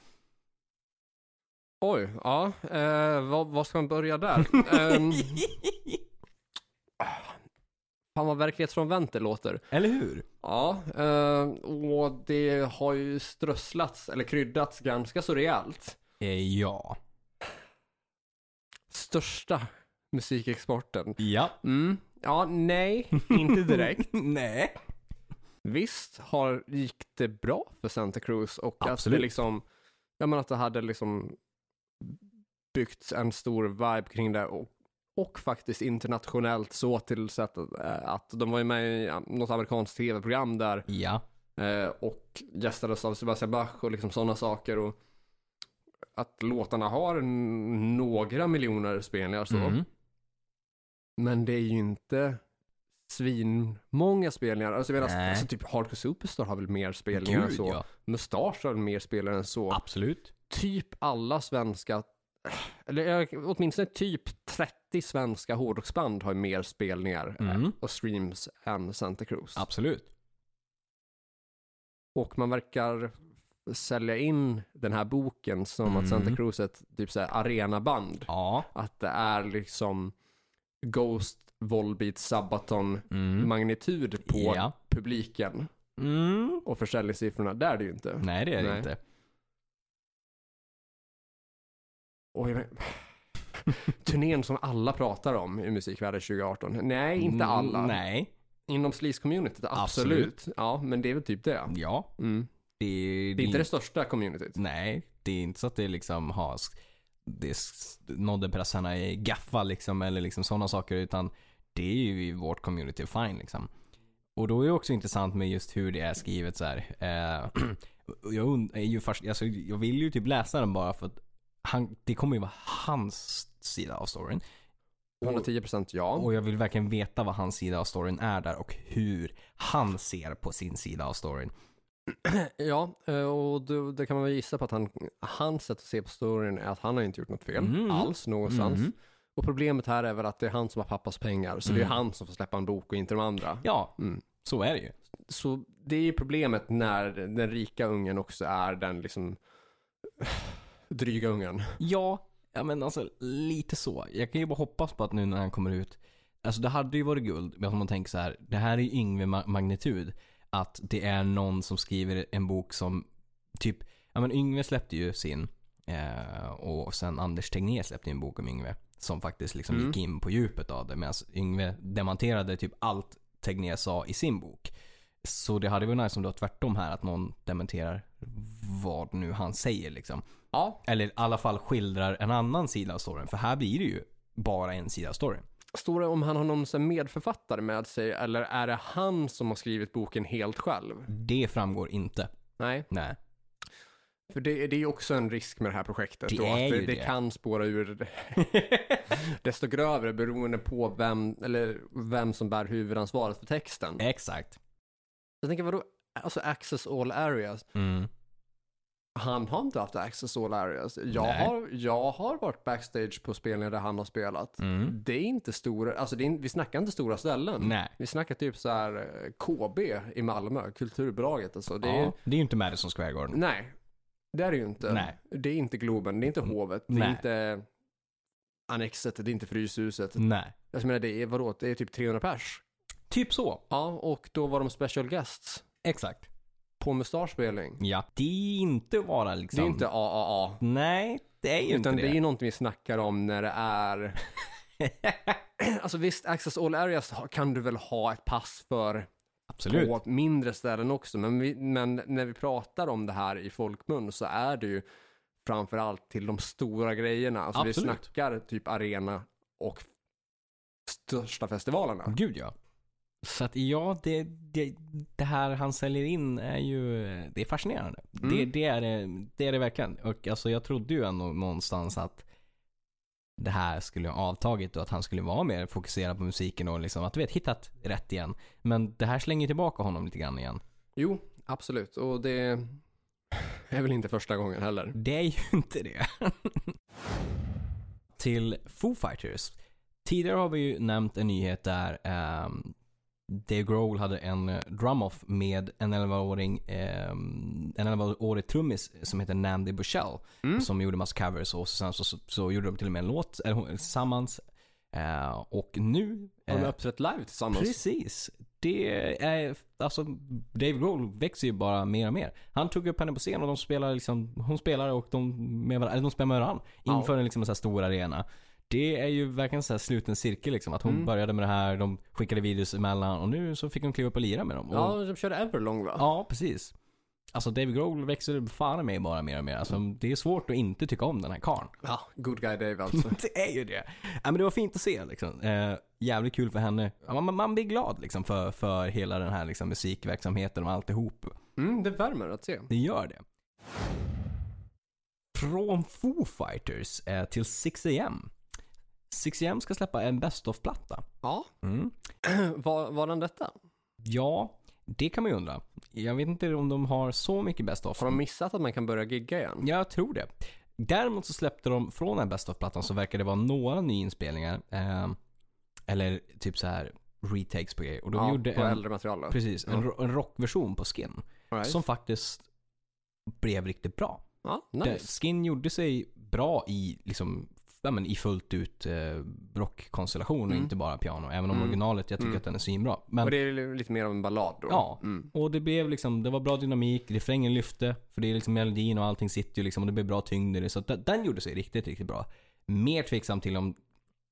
Speaker 1: Oj, ja. Eh, vad, vad ska man börja där? Ehm, fan vad verklighetsfrånvänt det låter.
Speaker 2: Eller hur?
Speaker 1: Ja, eh, och det har ju strösslats, eller kryddats ganska så rejält.
Speaker 2: Eh, ja.
Speaker 1: Största musikexporten.
Speaker 2: Ja.
Speaker 1: Mm. Ja, nej, inte direkt.
Speaker 2: Nej.
Speaker 1: Visst har, gick det bra för Santa Cruz och att
Speaker 2: Absolut.
Speaker 1: det liksom, jag menar att det hade liksom byggts en stor vibe kring det och, och faktiskt internationellt så till sätt att, eh, att de var ju med i eh, något amerikanskt tv-program där
Speaker 2: Ja.
Speaker 1: eh, och gästades av Sebastian Bach och liksom sådana saker och att låtarna har n- några miljoner spelningar så.
Speaker 2: Mm.
Speaker 1: Men det är ju inte svinmånga spelningar. Alltså, jag menar,
Speaker 2: Nej.
Speaker 1: alltså typ Hardcore Superstar har väl mer spelningar än
Speaker 2: Gud,
Speaker 1: så.
Speaker 2: ja.
Speaker 1: Mustasch har väl mer spelningar än så.
Speaker 2: Absolut.
Speaker 1: Typ alla svenska, eller eh, åtminstone typ 30 svenska hårdrocksband har ju mer spelningar eh,
Speaker 2: Mm.
Speaker 1: och streams än Santa Cruz.
Speaker 2: Absolut.
Speaker 1: Och man verkar sälja in den här boken som att
Speaker 2: Mm.
Speaker 1: Santa Cruz är ett typ så här arenaband.
Speaker 2: Ja.
Speaker 1: Att det är liksom Ghost, Volbeat, Sabaton,
Speaker 2: Mm.
Speaker 1: magnitud på
Speaker 2: Ja.
Speaker 1: publiken
Speaker 2: Mm.
Speaker 1: och försäljningssiffrorna. Där är det ju inte.
Speaker 2: Nej, det är det
Speaker 1: Nej.
Speaker 2: inte.
Speaker 1: Oj, men... Turnén som alla pratar om i musikvärlden 2018. Nej, inte alla.
Speaker 2: Mm, Nej.
Speaker 1: Inom Sleaze-communityt, absolut.
Speaker 2: Absolut.
Speaker 1: Ja, men det är väl typ det.
Speaker 2: Ja.
Speaker 1: Mm.
Speaker 2: Det
Speaker 1: Det är inte det största communityt.
Speaker 2: Nej, det är inte så att det liksom har... Det s- nådde pressarna i gaffa liksom eller liksom sådana saker utan det är ju i vårt community fine liksom. Och då är det också intressant med just hur det är skrivet så här. Eh, och jag, und- är ju fast, alltså, jag vill ju typ läsa den bara för att han, det kommer ju vara hans sida av storyn. Och,
Speaker 1: 110% ja.
Speaker 2: och jag vill verkligen veta vad hans sida av storyn är där och hur han ser på sin sida av storyn.
Speaker 1: Ja, eh, och då, det kan man väl gissa på att han, hans sätt att se på storyn är att han har inte gjort något fel
Speaker 2: Mm.
Speaker 1: alls någonstans.
Speaker 2: Mhm.
Speaker 1: Och problemet här är väl att det är han som har pappas pengar, så det är
Speaker 2: Mm.
Speaker 1: han som får släppa en bok och inte de andra.
Speaker 2: Ja,
Speaker 1: Mm.
Speaker 2: så är det ju.
Speaker 1: så det är ju problemet när den rika ungen också är den liksom dryga ungen.
Speaker 2: Ja, ja men alltså lite så. Jag kan ju bara hoppas på att nu när han kommer ut. Alltså det hade ju varit guld, men om man tänker så här. Det här är ju Yngve ma- magnitud. Att det är någon som skriver en bok som typ, ja men Yngve släppte ju sin. Eh, och sen Anders Tegnér släppte ju en bok om Yngve. Som faktiskt liksom
Speaker 1: Mm.
Speaker 2: gick in på djupet av det. Medan Yngve dementerade typ allt Tegnér sa i sin bok. Så det hade varit nice om det var tvärtom här. Att någon dementerar vad nu han säger liksom.
Speaker 1: Ja.
Speaker 2: Eller i alla fall skildrar en annan sida av storyn. För här blir det ju bara en sida av storyn.
Speaker 1: Står det om han har någon sån här medförfattare med sig eller är det han som har skrivit boken helt själv?
Speaker 2: Det framgår inte.
Speaker 1: Nej.
Speaker 2: Nej.
Speaker 1: För det, det är ju också en risk med det här projektet.
Speaker 2: Det
Speaker 1: då,
Speaker 2: är
Speaker 1: att det,
Speaker 2: ju
Speaker 1: det
Speaker 2: det.
Speaker 1: kan spåra ur desto grövre beroende på vem, eller vem som bär huvudansvaret för texten.
Speaker 2: Eh. Exakt.
Speaker 1: Jag tänker vadå, alltså access all areas?
Speaker 2: Mm.
Speaker 1: Han har inte haft access all areas. Jag,
Speaker 2: Nej.
Speaker 1: har, jag har varit backstage på spelningar där han har spelat.
Speaker 2: Mm.
Speaker 1: Det är inte stora, alltså det är, in- vi snackar inte stora ställen.
Speaker 2: Nej.
Speaker 1: Vi snackar typ så här eh, KB i Malmö, kulturbolaget alltså. Det
Speaker 2: Det
Speaker 1: är, Mm.
Speaker 2: är, ja. det är ju inte Madison Square Garden.
Speaker 1: Nej, det är det ju inte.
Speaker 2: Nej. Mm.
Speaker 1: Det är inte Globen, det är inte Hovet, det är
Speaker 2: Nej.
Speaker 1: inte Annexet, det är inte Fryshuset.
Speaker 2: Nej.
Speaker 1: Jag menar det är, vadå, det är typ 300 pers.
Speaker 2: Typ så.
Speaker 1: Ja, och då var de special guests
Speaker 2: Exakt.
Speaker 1: på mustaschspelning.
Speaker 2: Ja. Det är inte bara liksom...
Speaker 1: Det är inte AAA.
Speaker 2: Nej, det är ju inte
Speaker 1: Utan
Speaker 2: det.
Speaker 1: det är ju någonting vi snackar om när det är... alltså visst, Access All Areas ha- kan du väl ha ett pass för
Speaker 2: Absolut.
Speaker 1: på mindre ställen också. Men, vi, men när vi pratar om det här i folkmun så är det ju framförallt till de stora grejerna. Alltså vi
Speaker 2: Absolut.
Speaker 1: snackar typ arena och största festivalerna.
Speaker 2: Gud ja. Så att ja, det, det, det här han säljer in är ju, det är fascinerande. Det, det, är, det- det är det verkligen. Och alltså jag trodde ju ändå någonstans att det här skulle ha avtagit och att han skulle vara mer fokuserad på musiken och liksom att du vet, hittat rätt igen. Men det här slänger tillbaka honom lite grann igen.
Speaker 1: Jo, absolut. Och det är väl inte första gången heller.
Speaker 2: Det är ju inte det. Till Foo Fighters. Tidigare har vi ju nämnt en nyhet där ehm, Dave Grohl hade en eh, drum-off med en 11-åring, ehm, en 11-årig trummis som heter Nandy Bushell.
Speaker 1: Mm.
Speaker 2: Som gjorde massa covers och sen så, så, så gjorde de till och med en låt eller, hon- tillsammans. Eh, och nu...
Speaker 1: Har de
Speaker 2: eh,
Speaker 1: uppträtt live tillsammans?
Speaker 2: Precis. Det är, alltså Dave Grohl växer ju bara mer och mer. Han tog upp henne på scen och de spelar liksom, hon spelar och de, med varandra, eller de spelar med varandra
Speaker 1: Ja.
Speaker 2: inför en liksom så här stor arena. Det är ju verkligen så här sluten cirkel liksom. Att hon
Speaker 1: Mm.
Speaker 2: började med det här, de skickade videos emellan och nu så fick hon kliva upp och lira med dem. Och,
Speaker 1: Ja, de körde Everlong va?
Speaker 2: ja, precis. Alltså Dave Grohl växer fan med bara mer och mer. Alltså,
Speaker 1: Mm.
Speaker 2: det är svårt att inte tycka om den här karln.
Speaker 1: Ja, good guy Dave alltså.
Speaker 2: Det är ju det. Ja, men det var fint att se liksom. Eh, jävligt kul för henne. Ja, Man, man blir glad liksom för, för hela den här liksom, musikverksamheten och alltihop.
Speaker 1: Mm, det värmer att se.
Speaker 2: Det gör det. Från Foo Fighters eh, till 6AM. 6AM ska släppa en Best of-platta.
Speaker 1: Ja,
Speaker 2: Mm.
Speaker 1: var, var den detta?
Speaker 2: Ja, det kan man ju undra. Jag vet inte om de har så mycket Best of.
Speaker 1: Har de missat att man kan börja gigga igen?
Speaker 2: Jag tror det. Däremot så släppte de från den här Best of-plattan så verkar det vara några nyinspelningar. Eh, eller typ så här retakes på grejer. Och de
Speaker 1: ja,
Speaker 2: gjorde
Speaker 1: på
Speaker 2: en,
Speaker 1: äldre material då.
Speaker 2: precis, en,
Speaker 1: Ja.
Speaker 2: ro- en rockversion på Skin.
Speaker 1: All right.
Speaker 2: Som faktiskt blev riktigt bra.
Speaker 1: Ja,
Speaker 2: Det-
Speaker 1: nice.
Speaker 2: Skin gjorde sig bra i, liksom, ja, men, i fullt ut eh, rockkonstellation och
Speaker 1: Mm.
Speaker 2: inte bara piano. Även om
Speaker 1: Mm.
Speaker 2: originalet, jag tycker
Speaker 1: Mm.
Speaker 2: att den är svinbra. Men
Speaker 1: Och det är lite mer av en ballad då?
Speaker 2: Ja.
Speaker 1: Mm.
Speaker 2: Och det blev liksom, det var bra dynamik, refrängen lyfte, för det är liksom melodin och allting sitter ju liksom och det blev bra tyngd i det. Så att den, den gjorde sig riktigt, riktigt bra. Mer tveksam till om,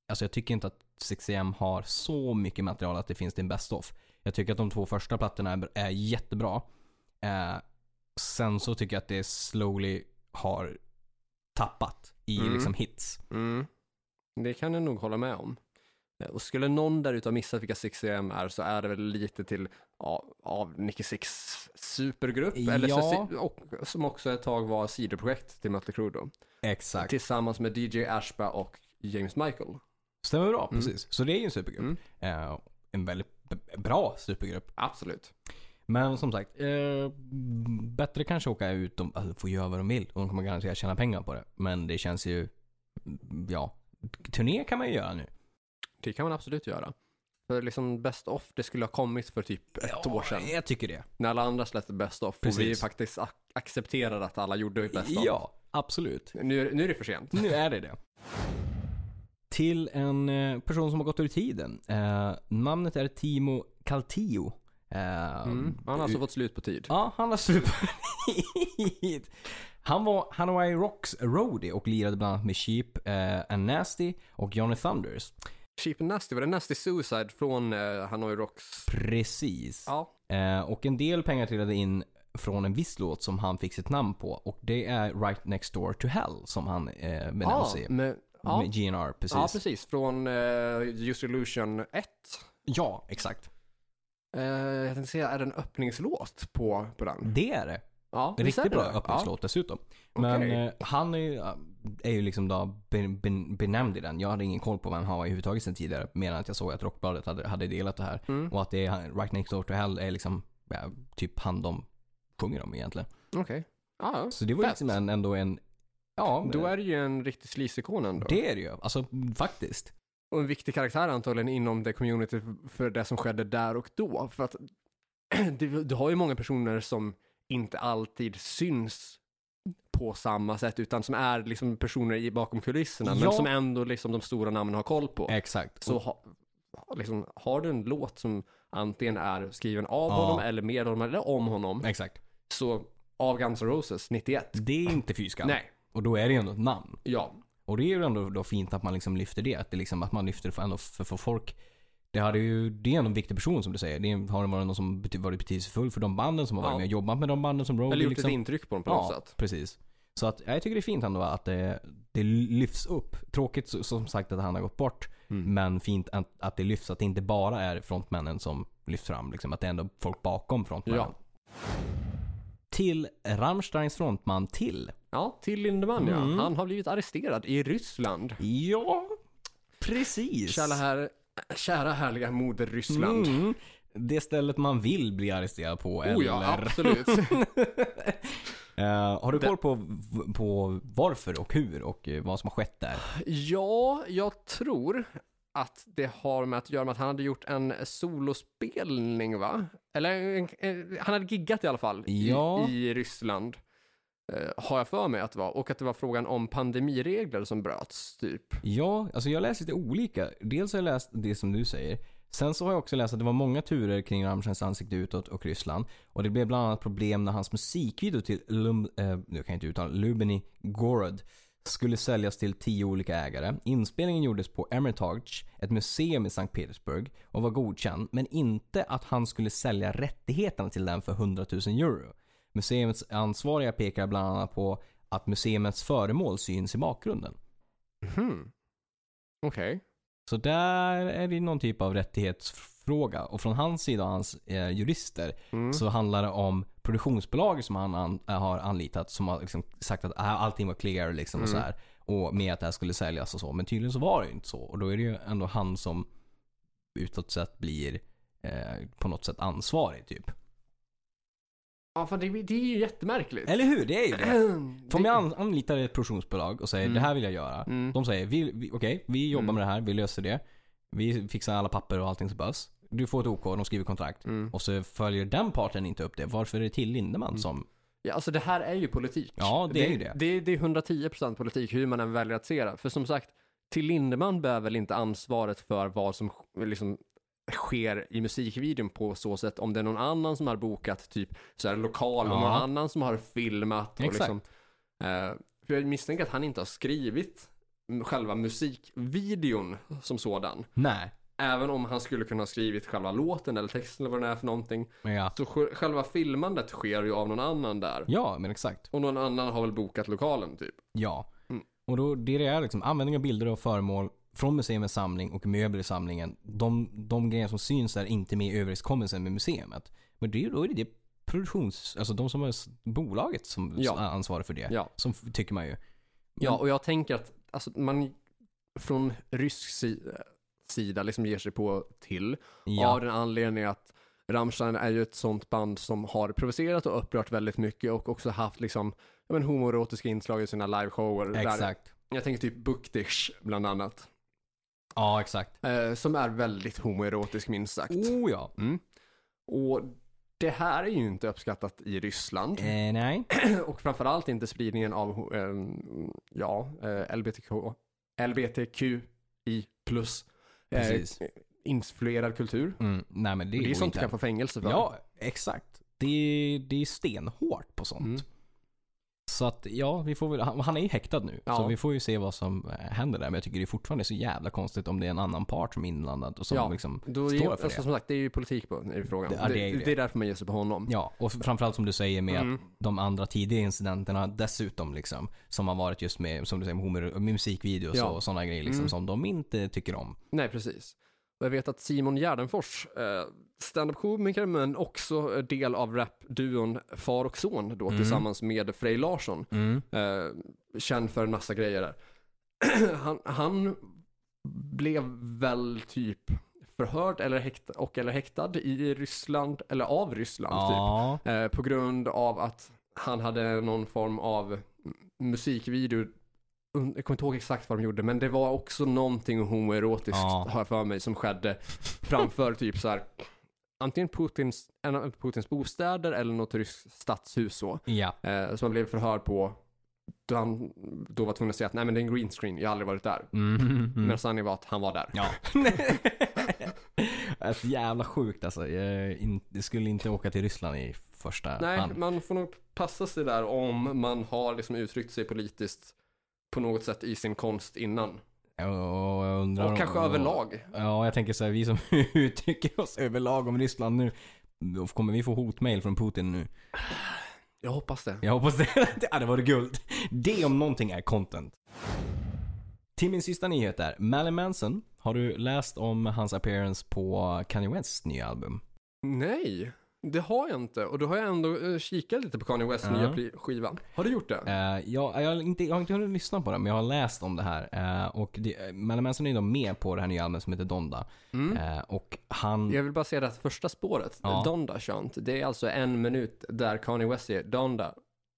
Speaker 2: alltså jag tycker inte att 6AM har så mycket material att det finns till en best of. Jag tycker att de två första plattorna är, är jättebra. Eh, sen så tycker jag att det slowly har tappat i
Speaker 1: Mm.
Speaker 2: liksom hits.
Speaker 1: Mm. Det kan jag nog hålla med om. Eh, Och skulle någon där ute ha missat vilka 6AM är så är det väl lite till ja, av Nicky Six supergrupp. Eller
Speaker 2: Ja.
Speaker 1: så, och, som också ett tag var sidoprojekt till Mötley Crüe då.
Speaker 2: Exakt.
Speaker 1: Tillsammans med DJ Ashba och James Michael.
Speaker 2: Stämmer bra,
Speaker 1: Mm.
Speaker 2: precis. Så det är ju en supergrupp. Eh, en väldigt b- bra supergrupp.
Speaker 1: Absolut.
Speaker 2: Men som sagt, eh, bättre kanske åka ut och alltså, få göra vad de vill. Och de kommer garanterat tjäna pengar på det. Men det känns ju, ja, turné kan man ju göra nu.
Speaker 1: Det kan man absolut göra. För liksom Best Off, det skulle ha kommit för typ ett år sedan.
Speaker 2: Ja, jag tycker det.
Speaker 1: När alla andra släppte Best Off. Och vi
Speaker 2: Precis.
Speaker 1: faktiskt ac- accepterade att alla gjorde Best Off.
Speaker 2: Ja, Absolut.
Speaker 1: Nu, nu är det för sent.
Speaker 2: Nu är det det. Till en eh, person som har gått ur tiden. Eh, namnet är Timo Kaltio. Eh,
Speaker 1: Mm. Han har alltså fått slut på tid.
Speaker 2: Ja, han har superhit. Han var Hanoi Rocks roadie och lirade bland annat med Sheep eh, and Nasty och Johnny Thunders.
Speaker 1: Cheap and Nasty, var det Nasty Suicide från eh, Hanoi Rocks?
Speaker 2: Precis.
Speaker 1: Ja.
Speaker 2: Eh, och en del pengar trillade in från en viss låt som han fick sitt namn på och det är Right Next Door to Hell som han eh, benämns
Speaker 1: Ja,
Speaker 2: i.
Speaker 1: men, ja.
Speaker 2: Med GNR, precis.
Speaker 1: ja, precis. Från eh, Use Illusion 1.
Speaker 2: Ja, exakt.
Speaker 1: Eh, jag tänkte säga, är det en öppningslåt på, på den?
Speaker 2: Det är det.
Speaker 1: Ja, visst är
Speaker 2: Riktigt
Speaker 1: det
Speaker 2: bra
Speaker 1: det?
Speaker 2: öppningslåt dessutom. Men
Speaker 1: Okej.
Speaker 2: eh, han är ju, är ju liksom då ben, ben, benämnd i den. Jag hade ingen koll på vem han var överhuvudtaget sen tidigare. Mer än att jag såg att Rockbladet hade, hade delat det här.
Speaker 1: Ja. Mm.
Speaker 2: Och att det är han- Right Next Door to Hell är liksom ja, typ han de sjunger om egentligen.
Speaker 1: Okej. Ja, ja.
Speaker 2: Så det var
Speaker 1: Fett.
Speaker 2: liksom en, ändå en... Ja,
Speaker 1: Då är det ju en riktig sleaze-ikon ändå.
Speaker 2: det är det ju. Alltså faktiskt.
Speaker 1: Och en viktig karaktär antagligen inom det community för det som skedde där och då. För att du, du har ju många personer som inte alltid syns på samma sätt utan som är liksom personer i, bakom kulisserna
Speaker 2: Ja.
Speaker 1: men som ändå liksom de stora namnen har koll på.
Speaker 2: Exakt.
Speaker 1: Så ha, liksom, har du en låt som antingen är skriven av
Speaker 2: Ja.
Speaker 1: honom eller med honom eller om honom
Speaker 2: Exakt.
Speaker 1: så av Guns N' Roses 91.
Speaker 2: Det är inte fy skam.
Speaker 1: Nej,
Speaker 2: Och då är det ju ändå ett namn.
Speaker 1: ja.
Speaker 2: Mm. Och det är ju ändå då fint att man liksom lyfter det. Att, det liksom, att man lyfter det för, ändå för, för folk. Det, hade ju, det är ändå en viktig person som du säger. Det är- har varit någon som bety- varit betydelsefull för de banden som har varit
Speaker 1: Ja.
Speaker 2: med och jobbat med de banden som Roadie.
Speaker 1: Eller gjort
Speaker 2: liksom.
Speaker 1: ett intryck på dem på något
Speaker 2: ja,
Speaker 1: sätt.
Speaker 2: precis. Så att, ja, jag tycker det är fint ändå att det, det lyfts upp. Tråkigt så- som sagt att han har gått bort.
Speaker 1: Mm.
Speaker 2: Men fint att, att det lyfts. Att det inte bara är frontmännen som lyfts fram. Liksom, att det är ändå folk bakom frontmännen.
Speaker 1: Ja.
Speaker 2: Till Rammsteins frontman till.
Speaker 1: Ja, till Lindemann ja.
Speaker 2: Mm.
Speaker 1: Han har blivit arresterad i Ryssland.
Speaker 2: Ja, precis.
Speaker 1: Kära, här, kära härliga moder Ryssland.
Speaker 2: Mm. Det stället man vill bli arresterad på.
Speaker 1: Oh
Speaker 2: eller...
Speaker 1: ja, absolut.
Speaker 2: Eh, har du koll på, på varför och hur och eh, vad som har skett där?
Speaker 1: ja, jag tror att det har med att göra med att han hade gjort en solospelning va? Eller en, en, han hade giggat i alla fall i,
Speaker 2: Ja.
Speaker 1: i Ryssland. Eh, har jag för mig att det var. Och att det var frågan om pandemiregler som bröts typ.
Speaker 2: Ja, alltså jag läser lite olika. Dels har jag läst det som du säger. Sen så har jag också läst att det var många turer kring Rammsteins ansikte utåt och Ryssland. Och det blev bland annat problem när hans musikvideo till Lum, eh, nu kan jag inte uttala, Lubini Gorod skulle säljas till tio olika ägare. Inspelningen gjordes på Hermitage, ett museum i Sankt Petersburg och var godkänd, men inte att han skulle sälja rättigheterna till den för 100 000 euro. Museets ansvariga pekar bland annat på att museets föremål syns i bakgrunden.
Speaker 1: Mhm. Okej.
Speaker 2: Så där är det någon typ av rättighetsfråga. Och från hans sida och hans eh, jurister
Speaker 1: Mm.
Speaker 2: så handlar det om produktionsbolag som han an, eh, har anlitat som har liksom sagt att ah, allting var clear liksom, och så
Speaker 1: Mm.
Speaker 2: här. Och med att det här skulle säljas och så. Men tydligen så var det ju inte så. Och då är det ju ändå han som utåt sett blir eh, på något sätt ansvarig typ.
Speaker 1: Ja, fan, det, det är ju jättemärkligt.
Speaker 2: Eller hur? Det är ju det. För om
Speaker 1: Eh, Det-
Speaker 2: jag an, anlitar ett produktionsbolag och säger
Speaker 1: Mm.
Speaker 2: det här vill jag göra.
Speaker 1: Mm.
Speaker 2: De säger, vi, vi, okej, vi jobbar
Speaker 1: Mm.
Speaker 2: med det här, vi löser det. Vi fixar alla papper och allting som behövs. Du får ett OK, de skriver kontrakt.
Speaker 1: Mm.
Speaker 2: Och så följer den parten inte upp det. Varför är det till Lindemann som...
Speaker 1: Ja, alltså det här är ju politik.
Speaker 2: Ja, det är ju det.
Speaker 1: Det, det är 110% politik hur man än väljer att se det. För som sagt, till Lindemann bär väl inte ansvaret för vad som sk- liksom sker i musikvideon på så sätt om det är någon annan som har bokat typ så här lokal och
Speaker 2: Ja.
Speaker 1: någon annan som har filmat och
Speaker 2: Exakt.
Speaker 1: liksom. Eh, för jag misstänker att han inte har skrivit själva musikvideon som sådan.
Speaker 2: Nej.
Speaker 1: Även om han skulle kunna ha skrivit själva låten eller texten eller vad det är för någonting.
Speaker 2: Men ja.
Speaker 1: Så sj- själva filmandet sker ju av någon annan där.
Speaker 2: ja, men exakt.
Speaker 1: Och någon annan har väl bokat lokalen typ.
Speaker 2: Ja.
Speaker 1: Mm.
Speaker 2: Och då, det det är liksom användning av bilder och föremål från museets samling och möbler i samlingen. De, de grejer som syns är inte med i överenskommelsen med museet. Men det, är ju- då är det, det produktions... Alltså de som har s- bolaget som
Speaker 1: Ja.
Speaker 2: s- ansvarar för det.
Speaker 1: Ja.
Speaker 2: Som f- tycker man ju.
Speaker 1: Ja, och jag tänker att alltså, man från rysk si- sida liksom ger sig på till
Speaker 2: Ja.
Speaker 1: av den anledningen att Rammstein är ju ett sånt band som har provocerat och upprört väldigt mycket och också haft liksom ja, men, homoerotiska inslag i sina liveshower. där-
Speaker 2: Exakt.
Speaker 1: Jag tänker typ Buktish bland annat.
Speaker 2: Ja, exakt.
Speaker 1: Mm. Oh, Eh, som är väldigt homoerotisk minst sagt.
Speaker 2: Oh ja.
Speaker 1: Och det här är ju inte uppskattat i Ryssland
Speaker 2: Eh, nej.
Speaker 1: och framförallt inte spridningen av eh, ja, eh, LBTQ, LBTQI plus eh,
Speaker 2: Precis.
Speaker 1: influerad kultur.
Speaker 2: Mm, nej men det,
Speaker 1: Det är,
Speaker 2: går
Speaker 1: sånt
Speaker 2: inte.
Speaker 1: du kan få fängelse för.
Speaker 2: Ja, exakt. Det, det är stenhårt på sånt.
Speaker 1: Mm.
Speaker 2: Så att ja, vi får väl, han, han är ju häktad nu.
Speaker 1: Ja.
Speaker 2: Så vi får ju se vad som eh, händer där. Men jag tycker det fortfarande är så jävla konstigt om det är en annan part som är inblandad och som
Speaker 1: Ja,
Speaker 2: liksom
Speaker 1: Då är,
Speaker 2: står för
Speaker 1: alltså,
Speaker 2: det.
Speaker 1: Som sagt, det är ju politik på, i frågan.
Speaker 2: Det- ja, det är
Speaker 1: det,
Speaker 2: ju det.
Speaker 1: det är därför man ger sig på honom.
Speaker 2: Ja, och framförallt som du säger med
Speaker 1: Mm.
Speaker 2: att de andra tidiga incidenterna dessutom liksom. Som har varit just med, som du säger, med homo- med musikvideos
Speaker 1: Ja.
Speaker 2: och sådana grejer liksom
Speaker 1: Mm.
Speaker 2: som de inte tycker om.
Speaker 1: Nej, precis. Och jag vet att Simon Gärdenfors, eh, standup-komiker men också eh, del av rapduon Far och Son då
Speaker 2: Mm.
Speaker 1: tillsammans med Frej Larsson, eh, känd för en massa grejer där. han, han blev väl typ förhörd eller häktad, och eller häktad i Ryssland, eller av Ryssland typ.
Speaker 2: Ja,
Speaker 1: Eh, på grund av att han hade någon form av m- musikvideo. Un- Jag kommer inte ihåg exakt vad de gjorde, men det var också någonting homoerotiskt
Speaker 2: Ja.
Speaker 1: har jag för mig som skedde framför typ så här antingen Putins, en av Putins bostäder eller något ryskt stadshus så.
Speaker 2: ja.
Speaker 1: Eh, som han blev förhörd på. Då han då var tvungen att säga att nej men det är en green screen, jag har aldrig varit där.
Speaker 2: Mm. Mm.
Speaker 1: Men sanningen var att han var där.
Speaker 2: Ja. alltså, jävla sjukt alltså. Jag in, jag skulle inte åka till Ryssland i första
Speaker 1: Nej,
Speaker 2: hand.
Speaker 1: man får nog passa sig där om man har liksom uttryckt sig politiskt på något sätt i sin konst innan.
Speaker 2: Och, jag undrar om-
Speaker 1: Och kanske överlag.
Speaker 2: Ja, jag tänker så här, vi som uttrycker oss överlag om Ryssland nu. då Kommer vi få hotmail från Putin nu?
Speaker 1: Jag hoppas det.
Speaker 2: Jag hoppas det. Det hade varit guld. Det om någonting är content. Till min sista nyhet där. Marilyn Manson. Har du läst om hans appearance på Kanye Wests nya album?
Speaker 1: Nej, det har jag inte. Och då har jag ändå eh, kikat lite på Kanye Wests
Speaker 2: Ja.
Speaker 1: nya pli- skiva. Har du gjort det?
Speaker 2: Eh, jag, jag, har inte, jag har inte hunnit lyssna på den, men jag har läst om det här. Eh, och det, Marilyn Manson är ju då med på det här nya albumet som heter Donda.
Speaker 1: Mm.
Speaker 2: Eh, och han...
Speaker 1: Jag vill bara säga det att första spåret,
Speaker 2: Ja.
Speaker 1: Donda Chant, det är alltså en minut där Kanye West säger Donda,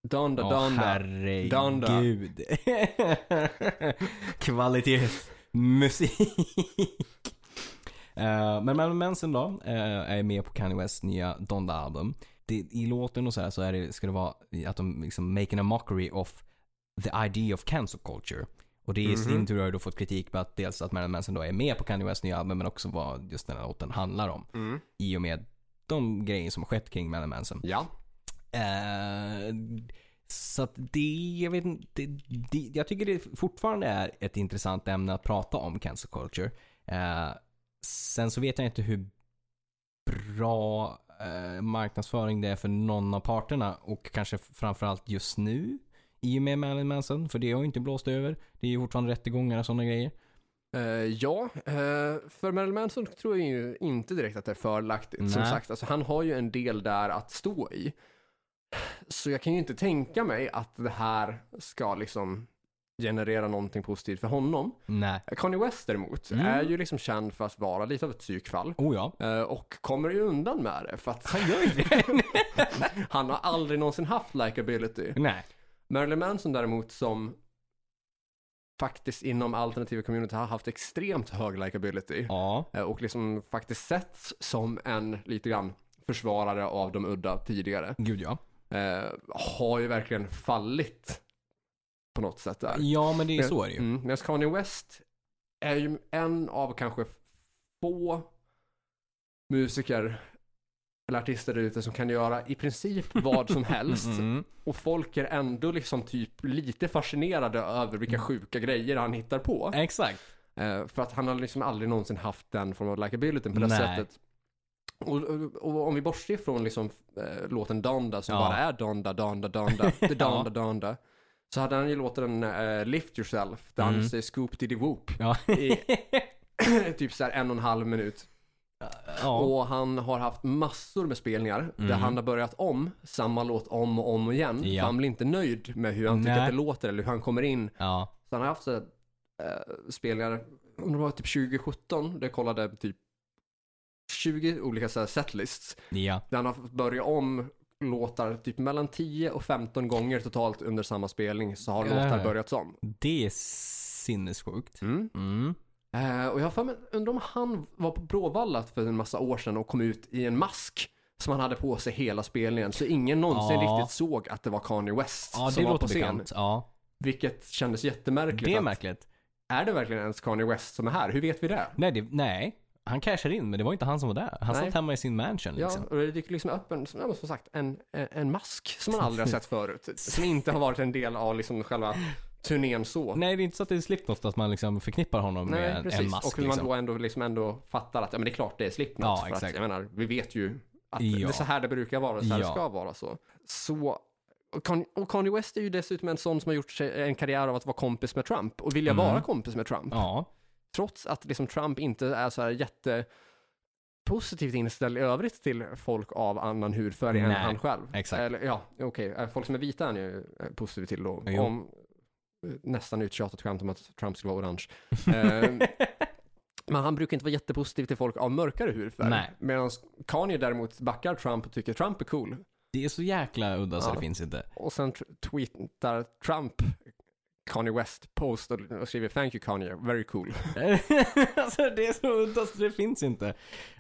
Speaker 1: Donda,
Speaker 2: Åh,
Speaker 1: Donda.
Speaker 2: herregud.
Speaker 1: Donda.
Speaker 2: Kvalitetsmusik. Eh, men Marilyn Manson då eh, är med på Kanye Wests nya Donda-album. Det, I låten och så här så är det, ska det vara att de liksom making a mockery of the idea of cancel culture. Och det i sin
Speaker 1: Mhm.
Speaker 2: tur har ju då fått kritik för att dels att Marilyn Manson då är med på Kanye Wests nya album men också vad just den här låten handlar om.
Speaker 1: Mm.
Speaker 2: I och med de grejer som har skett kring Marilyn Manson.
Speaker 1: Ja,
Speaker 2: Eh, så att det, jag vet inte, det, det, jag tycker det fortfarande är ett intressant ämne att prata om cancer culture. Eh, sen så vet jag inte hur bra eh, marknadsföring det är för någon av parterna och kanske framförallt just nu i och med Marilyn Manson, för det har ju inte blåst över. Det är ju fortfarande rättegångar och sådana grejer.
Speaker 1: Eh, ja, eh, för Marilyn Manson tror jag ju inte direkt att det är fördelaktigt. Som
Speaker 2: Nej.
Speaker 1: sagt, alltså, han har ju en del där att stå i. Så jag kan ju inte tänka mig att det här ska liksom generera någonting positivt för honom. Eh,
Speaker 2: Nej.
Speaker 1: Kanye West däremot
Speaker 2: Mm.
Speaker 1: är ju liksom känd för att vara lite av ett psykfall.
Speaker 2: Oh ja.
Speaker 1: eh, Och kommer ju undan med det för att
Speaker 2: Han gör ju det.
Speaker 1: han har aldrig någonsin haft likability.
Speaker 2: Nej.
Speaker 1: Marilyn Manson däremot som faktiskt inom alternativa community har haft extremt hög likability.
Speaker 2: Ja.
Speaker 1: Eh, och liksom faktiskt setts som en lite grann försvarare av de udda tidigare.
Speaker 2: Gud ja.
Speaker 1: Eh, har ju verkligen fallit på något sätt där.
Speaker 2: Ja men det är så är det ju.
Speaker 1: Mm, medan Kanye West är ju en av kanske få musiker eller artister där ute som kan göra i princip vad som helst.
Speaker 2: Mm.
Speaker 1: Och folk är ändå liksom typ lite fascinerade över vilka sjuka grejer han hittar på.
Speaker 2: Exakt.
Speaker 1: Eh, för att han har liksom aldrig någonsin haft den formen av likability på det
Speaker 2: Nej.
Speaker 1: sättet. Och, och, och om vi bortser ifrån liksom, eh, låten Donda som
Speaker 2: Ja.
Speaker 1: bara är Donda, Donda, Donda, the Donda, Donda. Så hade han ju låten eh, Lift Yourself där
Speaker 2: Mm.
Speaker 1: han säger Scoop Diddy Whoop
Speaker 2: Ja.
Speaker 1: i typ så här en och en halv minut.
Speaker 2: ja.
Speaker 1: Och han har haft massor med spelningar där
Speaker 2: Mm.
Speaker 1: han har börjat om samma låt om och om igen.
Speaker 2: Ja.
Speaker 1: För han blir inte nöjd med hur han tycker
Speaker 2: Nej.
Speaker 1: att det låter eller hur han kommer in
Speaker 2: ja.
Speaker 1: så han har haft så här, eh, spelningar, om det var typ 2017, där jag kollade typ 20 olika så här setlists.
Speaker 2: Ja.
Speaker 1: Där han har fått börja om låtar typ mellan 10 och 15 gånger totalt under samma spelning så har
Speaker 2: Ja.
Speaker 1: låtar börjats om.
Speaker 2: Det är sinnessjukt.
Speaker 1: Mm.
Speaker 2: Mm.
Speaker 1: Eh, och jag har för mig, undrar om han var på Bråvalla för en massa år sedan och kom ut i en mask som han hade på sig hela spelningen. Så ingen någonsin
Speaker 2: Ja.
Speaker 1: riktigt såg att det var Kanye West
Speaker 2: Ja,
Speaker 1: som
Speaker 2: det
Speaker 1: var på
Speaker 2: låter
Speaker 1: scen.
Speaker 2: bekant. Ja,
Speaker 1: Vilket kändes jättemärkligt.
Speaker 2: det är
Speaker 1: att-
Speaker 2: märkligt.
Speaker 1: är det verkligen ens Kanye West som är här? Hur vet vi det?
Speaker 2: Nej, det, nej, han cashar in men det var inte han som var där. Han
Speaker 1: Nej.
Speaker 2: satt hemma i sin mansion
Speaker 1: Ja,
Speaker 2: liksom.
Speaker 1: och det dyker liksom upp en, som ja, men som sagt, en, en- en mask som man aldrig har sett förut. Som inte har varit en del av liksom själva turnén så.
Speaker 2: Nej, det är inte så att det är Slipknot att man liksom förknippar honom
Speaker 1: Nej,
Speaker 2: med en,
Speaker 1: precis.
Speaker 2: en mask.
Speaker 1: och hur man
Speaker 2: liksom.
Speaker 1: då ändå, liksom ändå fattar att ja, men det är klart det är Slipknot.
Speaker 2: Ja,
Speaker 1: för
Speaker 2: exakt.
Speaker 1: Att, jag menar, vi vet ju att det
Speaker 2: Ja.
Speaker 1: är så här det brukar vara, så här det
Speaker 2: Ja.
Speaker 1: ska vara. Så. så och Kan- och Kanye West är ju dessutom en sån som har gjort sig en karriär av att vara kompis med Trump och vilja
Speaker 2: Mm.
Speaker 1: vara kompis med Trump.
Speaker 2: Ja,
Speaker 1: Trots att liksom Trump inte är så här jätte positivt inställd i övrigt till folk av annan hudfärg än
Speaker 2: Nej,
Speaker 1: han själv.
Speaker 2: exakt.
Speaker 1: Eller, ja, okej. Eh, Folk som är vita är han ju eh, positiv till då.
Speaker 2: Jo.
Speaker 1: Om, eh, nästan uttjatat skämt om att Trump skulle vara orange. Eh, men han brukar inte vara jättepositiv till folk av mörkare hudfärg.
Speaker 2: Nej.
Speaker 1: Medan Kanye däremot backar Trump och tycker Trump är cool.
Speaker 2: det är så jäkla udda så
Speaker 1: Ja.
Speaker 2: det finns inte.
Speaker 1: Och sen tr- tweetar Trump Kanye West post och och skriver “Thank you Kanye, very cool”.
Speaker 2: alltså det är så udda så det finns inte.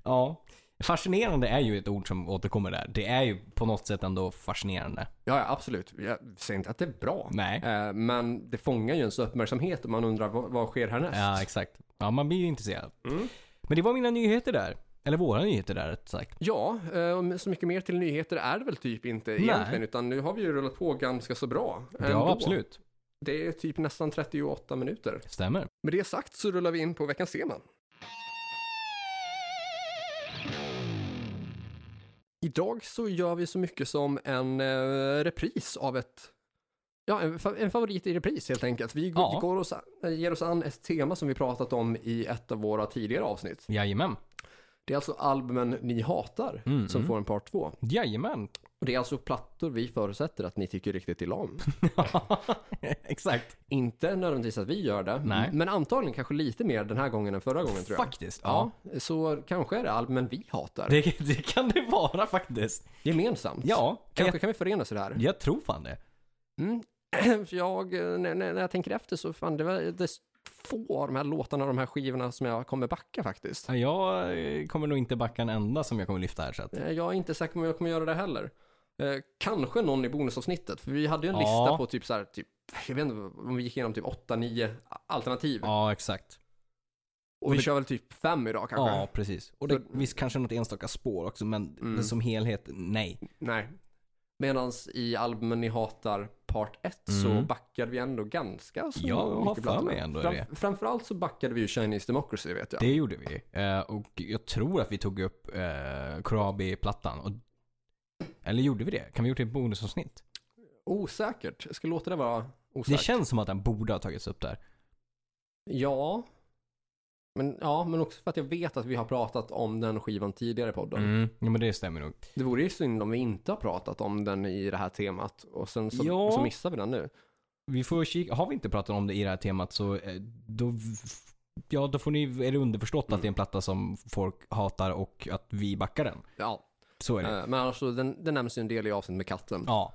Speaker 2: Ja. Fascinerande är ju ett ord som återkommer där. Det är ju på något sätt ändå fascinerande.
Speaker 1: Ja, ja absolut. Jag säger inte att det är bra.
Speaker 2: Nej.
Speaker 1: Eh, Men det fångar ju ens uppmärksamhet och man undrar vad, vad sker härnäst?
Speaker 2: Ja, exakt. Ja, man blir ju intresserad.
Speaker 1: Mm.
Speaker 2: Men det var mina nyheter där. Eller våra nyheter där, rätt sagt.
Speaker 1: Ja, eh, och så mycket mer till nyheter är det väl typ inte egentligen, utan nu har vi ju rullat på ganska så bra. ändå.
Speaker 2: Ja, absolut.
Speaker 1: Det är typ nästan 38 minuter.
Speaker 2: Stämmer.
Speaker 1: Med det sagt så rullar vi in på veckans tema. Idag så gör vi så mycket som en eh, repris av ett Ja, en, fa- en favorit i repris helt enkelt. Vi går,
Speaker 2: Ja.
Speaker 1: går oss, an- ger oss an ett tema som vi pratat om i ett av våra tidigare avsnitt.
Speaker 2: Jajamän.
Speaker 1: Det är alltså albumen ni hatar
Speaker 2: Mm,
Speaker 1: som
Speaker 2: mm.
Speaker 1: får en part två.
Speaker 2: Jajamän.
Speaker 1: Och det är alltså plattor vi förutsätter att ni tycker riktigt illa om.
Speaker 2: exakt.
Speaker 1: Inte nödvändigtvis att vi gör det,
Speaker 2: Nej.
Speaker 1: men antagligen kanske lite mer den här gången än förra gången tror jag.
Speaker 2: Faktiskt. Ja.
Speaker 1: Ja, så kanske är det albumen vi hatar.
Speaker 2: Det, det kan det vara faktiskt.
Speaker 1: Gemensamt.
Speaker 2: Ja.
Speaker 1: Kanske kan vi förenas i det här.
Speaker 2: Jag, jag tror fan det.
Speaker 1: Mm. För jag, eh, när, när när jag tänker efter så fan, det var det är få av de här låtarna och de här skivorna som jag kommer backa faktiskt.
Speaker 2: Ja, Jag eh, kommer nog inte backa en enda som jag kommer lyfta här. Så att...
Speaker 1: Eh, Jag är inte säker på om jag kommer göra det heller. Eh, kanske någon i bonusavsnittet, för vi hade ju en
Speaker 2: Ja.
Speaker 1: lista på typ så här, typ, jag vet inte om vi gick igenom typ 8-9 alternativ.
Speaker 2: Ja, exakt.
Speaker 1: Och vi
Speaker 2: det-
Speaker 1: kör väl typ fem idag kanske?
Speaker 2: Ja, precis. Och det, visst kanske något enstaka spår också, men
Speaker 1: Mm.
Speaker 2: som helhet, nej.
Speaker 1: Nej. Medan i albumen ni hatar part 1 så
Speaker 2: Mm.
Speaker 1: backade vi ändå ganska så
Speaker 2: Ja, jag har
Speaker 1: mycket
Speaker 2: för
Speaker 1: plattorna.
Speaker 2: mig ändå det.
Speaker 1: framförallt så backade vi ju Chinese Democracy vet jag.
Speaker 2: Det gjorde vi. Eh, och jag tror att vi tog upp eh, Krabi-plattan. Och... Eller gjorde vi det? Kan vi gjort det i ett bonusavsnitt?
Speaker 1: Osäkert. Jag ska låta det vara
Speaker 2: Det
Speaker 1: osäkert.
Speaker 2: känns som att den borde ha tagits upp där.
Speaker 1: Ja. Men, ja, men också för att jag vet att vi har pratat om den skivan tidigare i podden.
Speaker 2: Mm. Ja, men det stämmer nog.
Speaker 1: Det vore ju synd om vi inte har pratat om den i det här temat och sen så,
Speaker 2: Ja.
Speaker 1: så missar vi den nu.
Speaker 2: Vi får kika. Har vi inte pratat om det i det här temat så eh, då, ja, då får ni, är det underförstått
Speaker 1: Mm.
Speaker 2: att det är en platta som folk hatar och att vi backar den.
Speaker 1: Ja,
Speaker 2: Så är det.
Speaker 1: eh, men alltså den, den nämns ju en del i avsnittet med katten.
Speaker 2: Ja.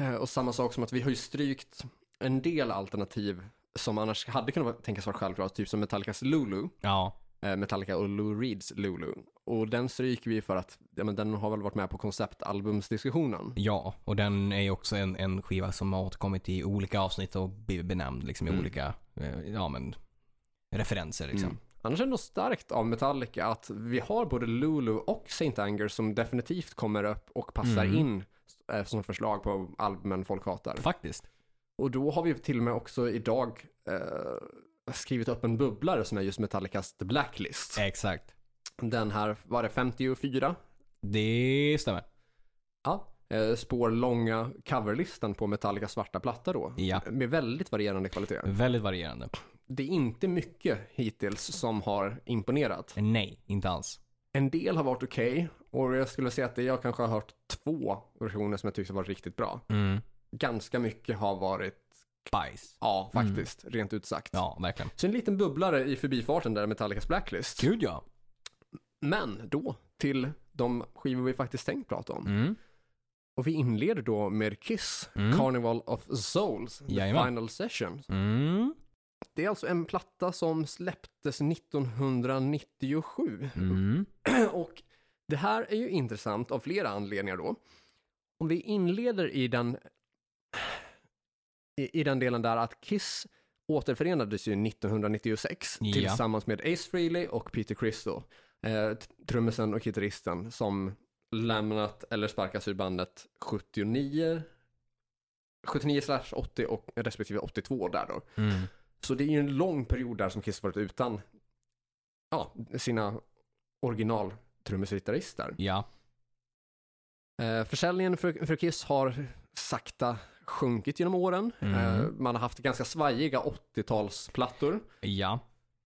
Speaker 1: Eh, Och samma sak som att vi har ju strykt en del alternativ som annars hade kunnat vara- tänkas vara självklara, typ som Metallicas Lulu,
Speaker 2: Ja.
Speaker 1: eh, Metallica och Lou Reeds Lulu. Och den stryker vi för att ja, men den har väl varit med på konceptalbumsdiskussionen.
Speaker 2: Ja, och den är ju också en, en skiva som har återkommit i olika avsnitt och blivit benämnd liksom i
Speaker 1: Mm.
Speaker 2: olika eh, ja, men, referenser. Liksom.
Speaker 1: Mm. Annars är det nog starkt av Metallica att vi har både Lulu och Saint Anger som definitivt kommer upp och passar
Speaker 2: Mm.
Speaker 1: in eh, som förslag på albumen folk hatar.
Speaker 2: Faktiskt.
Speaker 1: Och då har vi till och med också idag eh, skrivit upp en bubblare som är just Metallicas The Blacklist.
Speaker 2: Exakt.
Speaker 1: den här, var det 54?
Speaker 2: Det stämmer.
Speaker 1: Ja. Eh, spår långa coverlistan på Metallica svarta platta då.
Speaker 2: Ja.
Speaker 1: Med väldigt varierande kvalitet.
Speaker 2: Väldigt varierande.
Speaker 1: Det är inte mycket hittills som har imponerat.
Speaker 2: Nej, inte alls.
Speaker 1: En del har varit okej och jag skulle säga att det jag kanske har hört två versioner som jag tyckte var riktigt bra.
Speaker 2: Mm.
Speaker 1: Ganska mycket har varit,
Speaker 2: Bajs.
Speaker 1: ja faktiskt, rent ut sagt.
Speaker 2: Mm. Ja, verkligen.
Speaker 1: Så en liten bubblare i förbifarten där Metallicas Blacklist.
Speaker 2: Gud ja.
Speaker 1: Men då till de skivor vi faktiskt tänkt prata om.
Speaker 2: Mm.
Speaker 1: Och vi inleder då med Kiss,
Speaker 2: Mm.
Speaker 1: Carnival of Souls, The
Speaker 2: Jajamän.
Speaker 1: Final Session.
Speaker 2: Mm.
Speaker 1: Det är alltså en platta som släpptes 1997.
Speaker 2: Mm.
Speaker 1: Och Det här är ju intressant av flera anledningar då. Om vi inleder i den, i, i den delen där att Kiss återförenades ju 1996
Speaker 2: Ja.
Speaker 1: tillsammans med Ace Frehley och Peter Cristo, eh, t- trummisen och gitarristen som lämnat eller sparkats ur bandet 79, 79 slash 80 och respektive 82 där då.
Speaker 2: Mm.
Speaker 1: Så det är ju en lång period där som Kiss varit utan ja, sina original trummisgitarrister.
Speaker 2: Ja.
Speaker 1: Eh, försäljningen för, för Kiss har sakta sjunkit genom åren.
Speaker 2: Mm.
Speaker 1: Eh, man har haft ganska svajiga 80-talsplattor.
Speaker 2: Ja.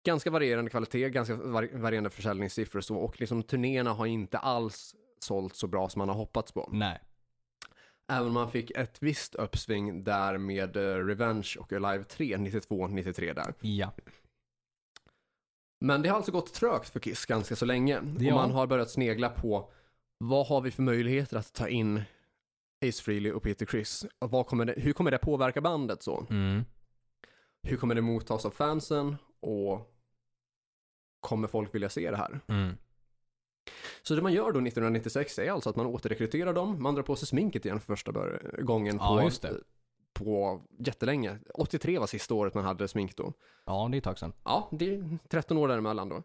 Speaker 1: Ganska varierande kvalitet, ganska var, varierande försäljningssiffror och så. Och liksom turnéerna har inte alls sålt så bra som man har hoppats på.
Speaker 2: Nej.
Speaker 1: Även om man fick ett visst uppsving där med eh, Revenge och Alive 3, 92-93 där.
Speaker 2: Ja.
Speaker 1: Men det har alltså gått trögt för Kiss ganska så länge.
Speaker 2: Ja.
Speaker 1: Och man har börjat snegla på vad har vi för möjligheter att ta in Ace Frehley och Peter Criss? Och vad kommer det, hur kommer det påverka bandet så?
Speaker 2: Mm.
Speaker 1: Hur kommer det mottas av fansen? Och kommer folk vilja se det här?
Speaker 2: Mm.
Speaker 1: Så det man gör då 1996 är alltså att man återrekryterar dem. Man drar på sig sminket igen för första bör- gången
Speaker 2: Ja,
Speaker 1: på,
Speaker 2: just det.
Speaker 1: på jättelänge. 83 var sista året man hade smink då.
Speaker 2: Ja, det är ett tag sedan.
Speaker 1: Ja, det är 13 år däremellan då.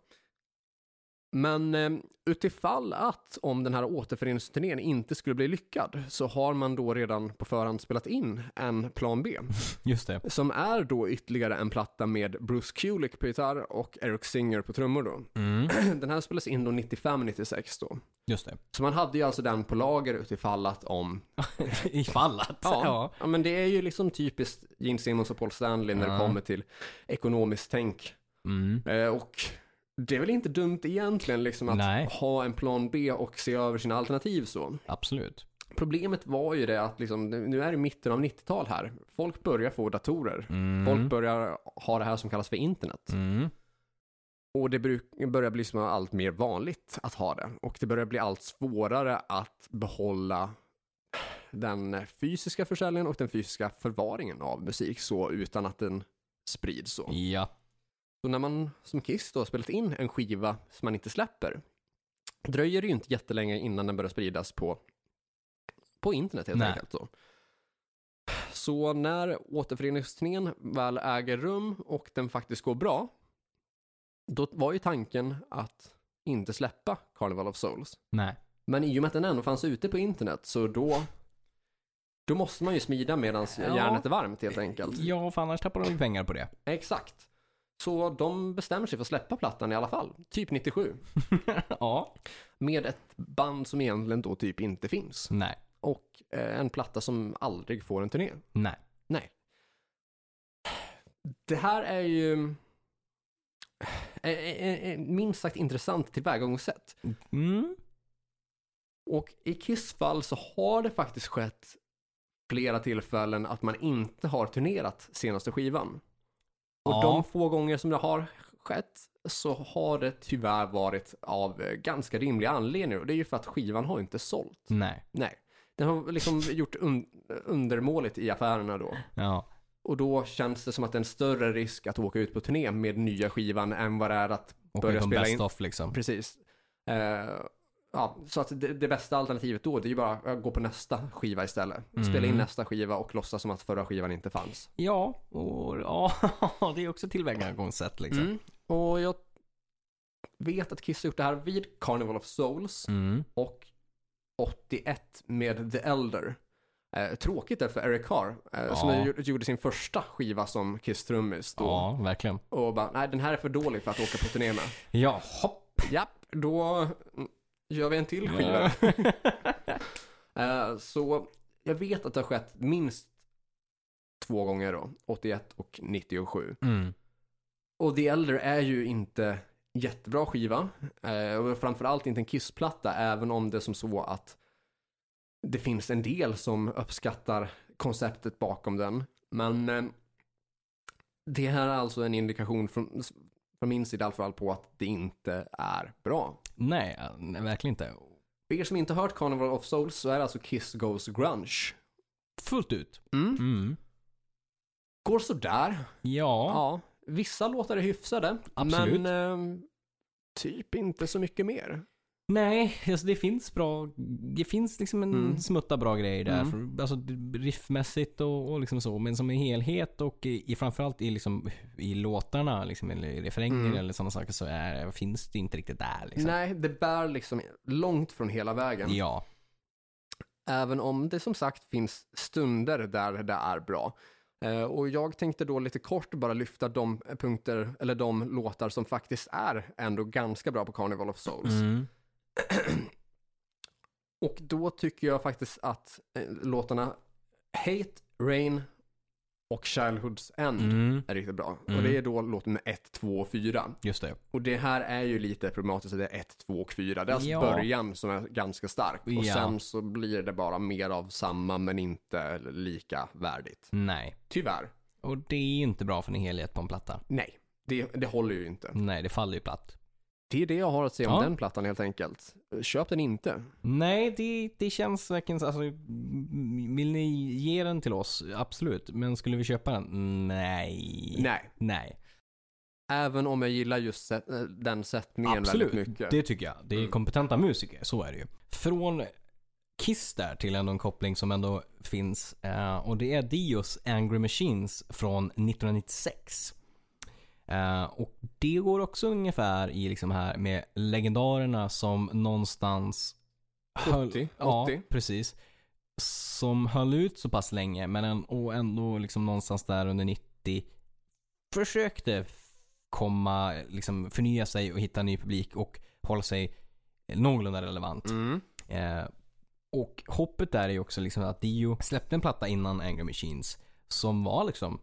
Speaker 1: Men eh, utifall att om den här återföreningsturnén inte skulle bli lyckad så har man då redan på förhand spelat in en plan B.
Speaker 2: Just det.
Speaker 1: Som är då ytterligare en platta med Bruce Kulick på gitarr och Eric Singer på trummor då.
Speaker 2: Mm.
Speaker 1: Den här spelades in då 95-96 då.
Speaker 2: Just det.
Speaker 1: Så man hade ju alltså den på lager utifall att om...
Speaker 2: Ifall att.
Speaker 1: Ja, ja, men det är ju liksom typiskt Gene Simmons och Paul Stanley när det
Speaker 2: Ja.
Speaker 1: kommer till ekonomiskt tänk.
Speaker 2: Mm.
Speaker 1: Eh, Och det är väl inte dumt egentligen liksom att
Speaker 2: Nej.
Speaker 1: ha en plan B och se över sina alternativ så.
Speaker 2: Absolut.
Speaker 1: Problemet var ju det att liksom, nu nu är det mitten av 90-tal här. Folk börjar få datorer.
Speaker 2: Mm.
Speaker 1: Folk börjar ha det här som kallas för internet.
Speaker 2: Mm.
Speaker 1: Och det bruk- börjar bli som allt mer vanligt att ha det. Och det börjar bli allt svårare att behålla den fysiska försäljningen och den fysiska förvaringen av musik så utan att den sprids så.
Speaker 2: Ja.
Speaker 1: Så när man som Kiss då har spelat in en skiva som man inte släpper, dröjer det ju inte jättelänge innan den börjar spridas på, på internet helt
Speaker 2: Nej.
Speaker 1: enkelt. Då. Så när återföreningsturnén väl äger rum och den faktiskt går bra, då var ju tanken att inte släppa Carnival of Souls.
Speaker 2: Nej.
Speaker 1: Men i och med att den ändå fanns ute på internet så då, då måste man ju smida medan
Speaker 2: Ja.
Speaker 1: järnet är varmt helt enkelt.
Speaker 2: Ja, för annars tappar de ju pengar på det.
Speaker 1: Exakt. Så de bestämmer sig för att släppa plattan i alla fall, typ 97.
Speaker 2: ja.
Speaker 1: Med ett band som egentligen då typ inte finns.
Speaker 2: Nej.
Speaker 1: Och eh, en platta som aldrig får en turné.
Speaker 2: Nej.
Speaker 1: Nej. Det här är ju eh, eh, eh, minst sagt intressant tillvägagångssätt.
Speaker 2: Mm.
Speaker 1: Och i Kiss fall så har det faktiskt skett flera tillfällen att man inte har turnerat senaste skivan. Och
Speaker 2: Ja.
Speaker 1: de få gånger som det har skett så har det tyvärr varit av eh, ganska rimliga anledningar och det är ju för att skivan har inte sålt.
Speaker 2: Nej.
Speaker 1: Nej, den har liksom gjort un- undermåligt i affärerna då.
Speaker 2: Ja.
Speaker 1: Och då känns det som att det är en större risk att åka ut på turné med nya skivan än vad det är att
Speaker 2: Och
Speaker 1: Börja
Speaker 2: Börja
Speaker 1: spela
Speaker 2: best
Speaker 1: in.
Speaker 2: off liksom.
Speaker 1: Precis. Eh, ja, så att det, det bästa alternativet då, det är ju bara att gå på nästa skiva istället. Spela in
Speaker 2: Mm.
Speaker 1: nästa skiva och låtsas som att förra skivan inte fanns.
Speaker 2: Ja, och, ja det är också tillvägagångssätt liksom.
Speaker 1: Mm. Och jag vet att Kiss har gjort det här vid Carnival of Souls
Speaker 2: Mm.
Speaker 1: och 81 med The Elder. Eh, tråkigt där för Eric Carr, eh, som
Speaker 2: Ja.
Speaker 1: ju- gjorde sin första skiva som Kiss-trummis då.
Speaker 2: Ja, verkligen.
Speaker 1: Och bara, nej den här är för dålig för att åka på turné med.
Speaker 2: Ja, hopp.
Speaker 1: Japp, då gör vi en till skiva. Eh, Så jag vet att det har skett minst två gånger då, 81 och 97.
Speaker 2: Mm.
Speaker 1: Och The Elder är ju inte jättebra skiva. eh, Och framförallt inte en kissplatta, även om det är som så att det finns en del som uppskattar konceptet bakom den. Men eh, det här är alltså en indikation från, från min sida i alla fall på att det inte är bra.
Speaker 2: Nej, nej, verkligen inte.
Speaker 1: För er som inte har hört Carnival of Souls så är det alltså Kiss Goes Grunge.
Speaker 2: Fullt ut.
Speaker 1: Mm.
Speaker 2: Mm.
Speaker 1: Går sådär. Ja.
Speaker 2: Ja,
Speaker 1: ja. Vissa låtar är hyfsade. ehm,
Speaker 2: Absolut.
Speaker 1: Men eh, typ inte så mycket mer.
Speaker 2: Nej, alltså det finns bra, det finns liksom en
Speaker 1: Mm.
Speaker 2: smutta bra grejer där.
Speaker 1: Mm.
Speaker 2: För, alltså riffmässigt och, och liksom så. Men som en helhet och i, i framförallt i, liksom, i låtarna, liksom, eller i refränger
Speaker 1: Mm.
Speaker 2: eller sådana saker så är, finns det inte riktigt där. Liksom.
Speaker 1: Nej, det bär liksom långt från hela vägen.
Speaker 2: Ja.
Speaker 1: Även om det som sagt finns stunder där det är bra. Eh, Och jag tänkte då lite kort bara lyfta de punkter, eller de låtar som faktiskt är ändå ganska bra på Carnival of Souls.
Speaker 2: Mm.
Speaker 1: Och då tycker jag faktiskt att eh, låtarna Hate, Rain och Childhood's End
Speaker 2: Mm.
Speaker 1: är riktigt bra.
Speaker 2: Mm.
Speaker 1: Och det är då låt nummer 1, 2 och 4.
Speaker 2: Just det.
Speaker 1: Och det här är ju lite problematiskt, att det är 1, 2 och 4. Det är alltså
Speaker 2: Ja.
Speaker 1: början som är ganska stark. Och
Speaker 2: Ja.
Speaker 1: sen så blir det bara mer av samma men inte lika värdigt.
Speaker 2: Nej.
Speaker 1: Tyvärr.
Speaker 2: Och det är ju inte bra för en helhet på en platta.
Speaker 1: Nej, det, det håller ju inte.
Speaker 2: Nej, det faller ju platt.
Speaker 1: Det är det jag har att säga om
Speaker 2: Mm. Ja.
Speaker 1: den plattan helt enkelt. Köp den inte.
Speaker 2: Nej, det, det känns verkligen så- alltså, Vill ni ge den till oss? Absolut. Men skulle vi köpa den? Nej.
Speaker 1: Nej.
Speaker 2: Nej.
Speaker 1: Även om jag gillar just se- eh, den sättningen
Speaker 2: Absolut.
Speaker 1: väldigt mycket.
Speaker 2: Det tycker jag. Det är
Speaker 1: Mm.
Speaker 2: kompetenta musiker, så är det ju. Från Kiss där till ändå en koppling som ändå finns. eh, och det är Dios Angry Machines från 1996. Eh, och det går också ungefär i liksom här med legendarerna som någonstans...
Speaker 1: 70,
Speaker 2: Ja,
Speaker 1: 80.
Speaker 2: precis. Som höll ut så pass länge men en, och ändå liksom någonstans där under 90 försökte komma, liksom förnya sig och hitta ny publik och hålla sig någorlunda relevant.
Speaker 1: Mm.
Speaker 2: Eh, och hoppet där är ju också liksom att Dio släppte en platta innan Angry Machines som var liksom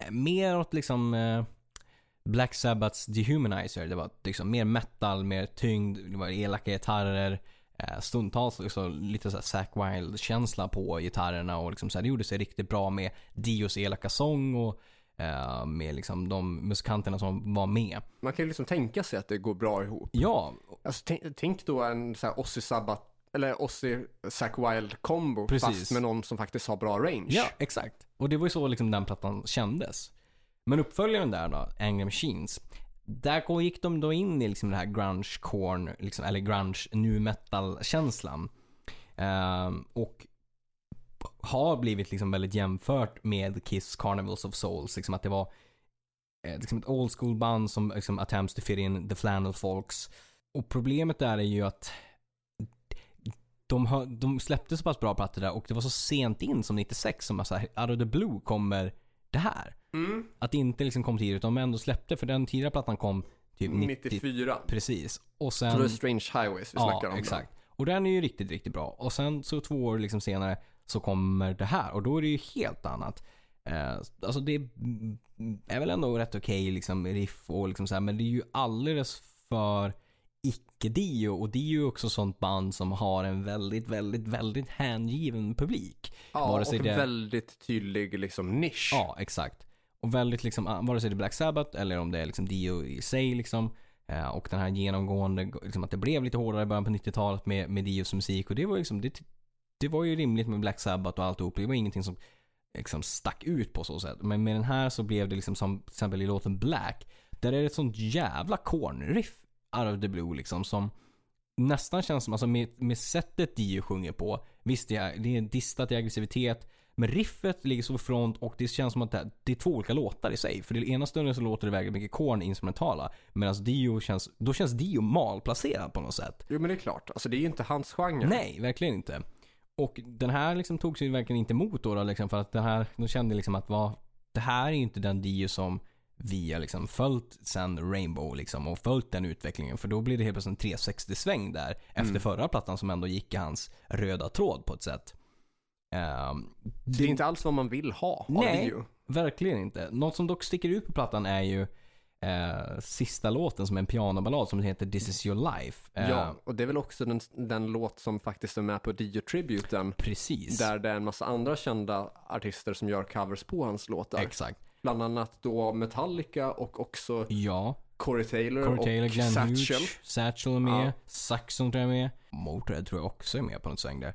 Speaker 2: eh, mer åt liksom eh, Black Sabbaths Dehumanizer. Det var liksom mer metal, mer tyngd, det var elaka gitarrer. Eh, stundtals också lite så här Zack Wild-känsla på gitarrerna och liksom så här, det gjorde sig riktigt bra med Dios elaka sång och eh, med liksom de musikanterna som var med.
Speaker 1: Man kan ju liksom tänka sig att det går bra ihop.
Speaker 2: Ja,
Speaker 1: Alltså, tänk, tänk då en så här Ozzy Sabbat, eller Ozzy Zack Wild combo fast
Speaker 2: Precis.
Speaker 1: med någon som faktiskt har bra range.
Speaker 2: Ja, exakt. Och det var ju så liksom den plattan kändes. Men uppföljaren där då, Angry Machines. Där går- gick de då in i liksom den här grunge corn, liksom, eller grunge nu metal känslan. och har blivit liksom väldigt jämfört med Kiss Carnivals of Souls. Liksom att det var eh, liksom ett old school band som liksom attempts to fit in the flannel folks. Och problemet där är ju att de, hör, de släppte så pass bra plattor där och det var så sent in som 96 som man såhär, out of the blue kommer det här.
Speaker 1: Mm.
Speaker 2: Att det inte liksom kom tidigare utan de ändå släppte för den tidigare plattan kom typ 90.
Speaker 1: 94.
Speaker 2: Precis. Och
Speaker 1: Så
Speaker 2: sen...
Speaker 1: det är Strange Highways vi snackar om. då.
Speaker 2: Mm. exakt. Och den är ju riktigt, riktigt bra. Och sen så två år liksom senare så kommer det här och då är det ju helt annat. Eh, alltså det är- mm, är väl ändå rätt okej liksom riff och liksom så här, men det är ju alldeles för icke-Dio och det är ju också sånt band som har en väldigt, väldigt, väldigt hängiven publik.
Speaker 1: Ja,
Speaker 2: Vare
Speaker 1: och
Speaker 2: sig
Speaker 1: en
Speaker 2: det-
Speaker 1: väldigt tydlig liksom nisch.
Speaker 2: Ja, exakt. Och väldigt liksom, ah, vare sig det är Black Sabbath eller om det är liksom Dio i sig liksom. Eh, Och den här genomgående, liksom att det blev lite hårdare i början på 90-talet med, med Dios musik. Och det var, liksom, det, det var ju rimligt med Black Sabbath och alltihop. Det var ingenting som liksom stack ut på så sätt. Men med den här så blev det liksom som till exempel i låten Black. Där är det ett sånt jävla cornriff out of the blue liksom som nästan känns som, alltså med, med sättet Dio sjunger på. Visst det är, det är distat i aggressivitet. Men riffet ligger så front och det känns som att det, här, det är två olika låtar i sig. För det ena stunden så låter det väldigt mycket korn instrumentala. Medan Dio känns, då känns Dio malplacerad på något sätt.
Speaker 1: Jo, men det är klart. Alltså, det är ju inte hans genre.
Speaker 2: Nej, verkligen inte. Och den här liksom togs ju verkligen inte emot då, då liksom, för att den här, de kände liksom att va, det här är ju inte den Dio som vi har liksom följt sen Rainbow liksom och följt den utvecklingen. För då blir det helt plötsligt en 360-sväng där
Speaker 1: Mm.
Speaker 2: efter förra plattan som ändå gick i hans röda tråd på ett sätt. Ehm,
Speaker 1: Så det är inte alls vad man vill ha av
Speaker 2: Nej.
Speaker 1: Dio.
Speaker 2: Verkligen inte. Något som dock sticker ut på plattan är ju eh, sista låten som är en pianoballad som heter This is your life. Eh,
Speaker 1: Ja, och det är väl också den, den låt som faktiskt är med på Dio-tributen.
Speaker 2: Precis.
Speaker 1: Där det är en massa andra kända artister som gör covers på hans låtar.
Speaker 2: Exakt.
Speaker 1: Bland annat då Metallica och också
Speaker 2: Ja.
Speaker 1: Corey Taylor
Speaker 2: Corey
Speaker 1: och
Speaker 2: Taylor, Glenn
Speaker 1: Satchel.
Speaker 2: Hughes, Satchel är med,
Speaker 1: Ja.
Speaker 2: Saxon tror jag är med. Motörhead tror jag också är med på något sväng där.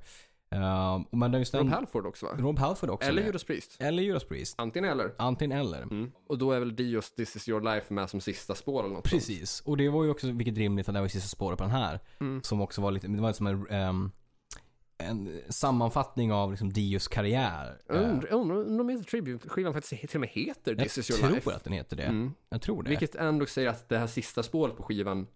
Speaker 2: Eh, men det är just
Speaker 1: Rob
Speaker 2: den,
Speaker 1: Halford också va?
Speaker 2: Rob Halford också
Speaker 1: Eller
Speaker 2: med.
Speaker 1: Judas Mm. Priest.
Speaker 2: Eller Judas Priest.
Speaker 1: Antingen eller.
Speaker 2: Antingen eller.
Speaker 1: Och då är väl Dios This is your life med som sista spår eller något sånt.
Speaker 2: Precis. Och det var ju också, vilket rimligt, att det här var sista spåret på den här.
Speaker 1: Mm.
Speaker 2: Som också var lite, det var som en, ehm, en sammanfattning av liksom Dios karriär.
Speaker 1: Jag
Speaker 2: Eh,
Speaker 1: undrar- jag undrar om inte Tribute-skivan faktiskt till och med heter This is
Speaker 2: jag
Speaker 1: your
Speaker 2: tror
Speaker 1: life.
Speaker 2: att den heter det.
Speaker 1: Mm.
Speaker 2: Jag tror det.
Speaker 1: Vilket ändå säger att det här sista spåret på skivan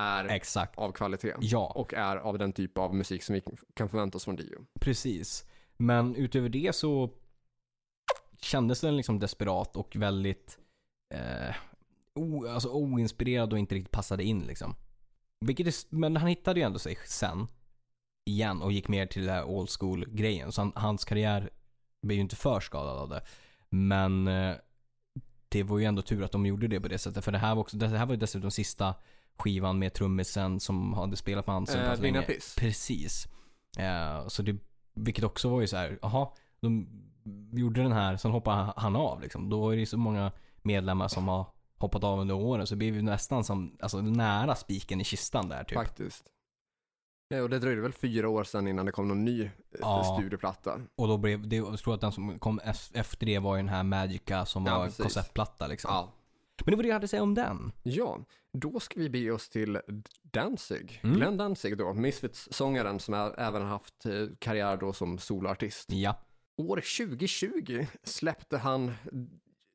Speaker 1: är
Speaker 2: Exakt.
Speaker 1: av kvalitet.
Speaker 2: Ja,
Speaker 1: Och är av den typ av musik som vi kan förvänta oss från Dio.
Speaker 2: precis. Men utöver det så kändes den liksom desperat och väldigt eh, o, alltså oinspirerad och inte riktigt passade in liksom. Vilket är, s- men han hittade ju ändå sig sen igen och gick mer till den här old school grejen. Så han, hans karriär blev ju inte för skadad av det. Men eh, det var ju ändå tur att de gjorde det på det sättet. För det här var, också, det här var ju dessutom sista skivan med trummisen som hade spelat med han så
Speaker 1: Eh,
Speaker 2: pass länge.
Speaker 1: Vinna Piss.
Speaker 2: Precis. Eh, så det, vilket också var ju så här, jaha, de gjorde den här, sen hoppade han av liksom. Då är det ju så många medlemmar som har hoppat av under åren så det blev ju nästan som, alltså nära spiken i kistan där typ.
Speaker 1: Faktiskt. Ja, och det dröjde väl fyra år sedan innan det kom någon ny eh,
Speaker 2: Ja.
Speaker 1: studioplatta.
Speaker 2: Och då blev det, jag tror att den som kom es- efter det var ju den här Magica som
Speaker 1: Ja,
Speaker 2: var
Speaker 1: precis.
Speaker 2: konceptplatta liksom. Men det var det jag hade att säga om den.
Speaker 1: Ja, då ska vi bege oss till Danzig.
Speaker 2: Mm.
Speaker 1: Glenn Danzig då, Misfits-sångaren som är, även haft eh, karriär då som soloartist.
Speaker 2: Ja.
Speaker 1: År 2020 släppte han,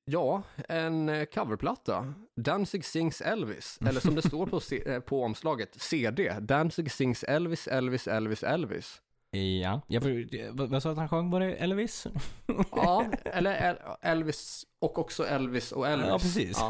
Speaker 1: ja, en eh, coverplatta. Danzig Sings Elvis, eller som det står på, se- eh, på omslaget, CD. Danzig Sings Elvis, Elvis, Elvis, Elvis.
Speaker 2: Ja. Jag, för- vad vad sa du att han sjöng? Var det Elvis?
Speaker 1: Ja, eller El- Elvis och också Elvis och Elvis.
Speaker 2: Ja, precis.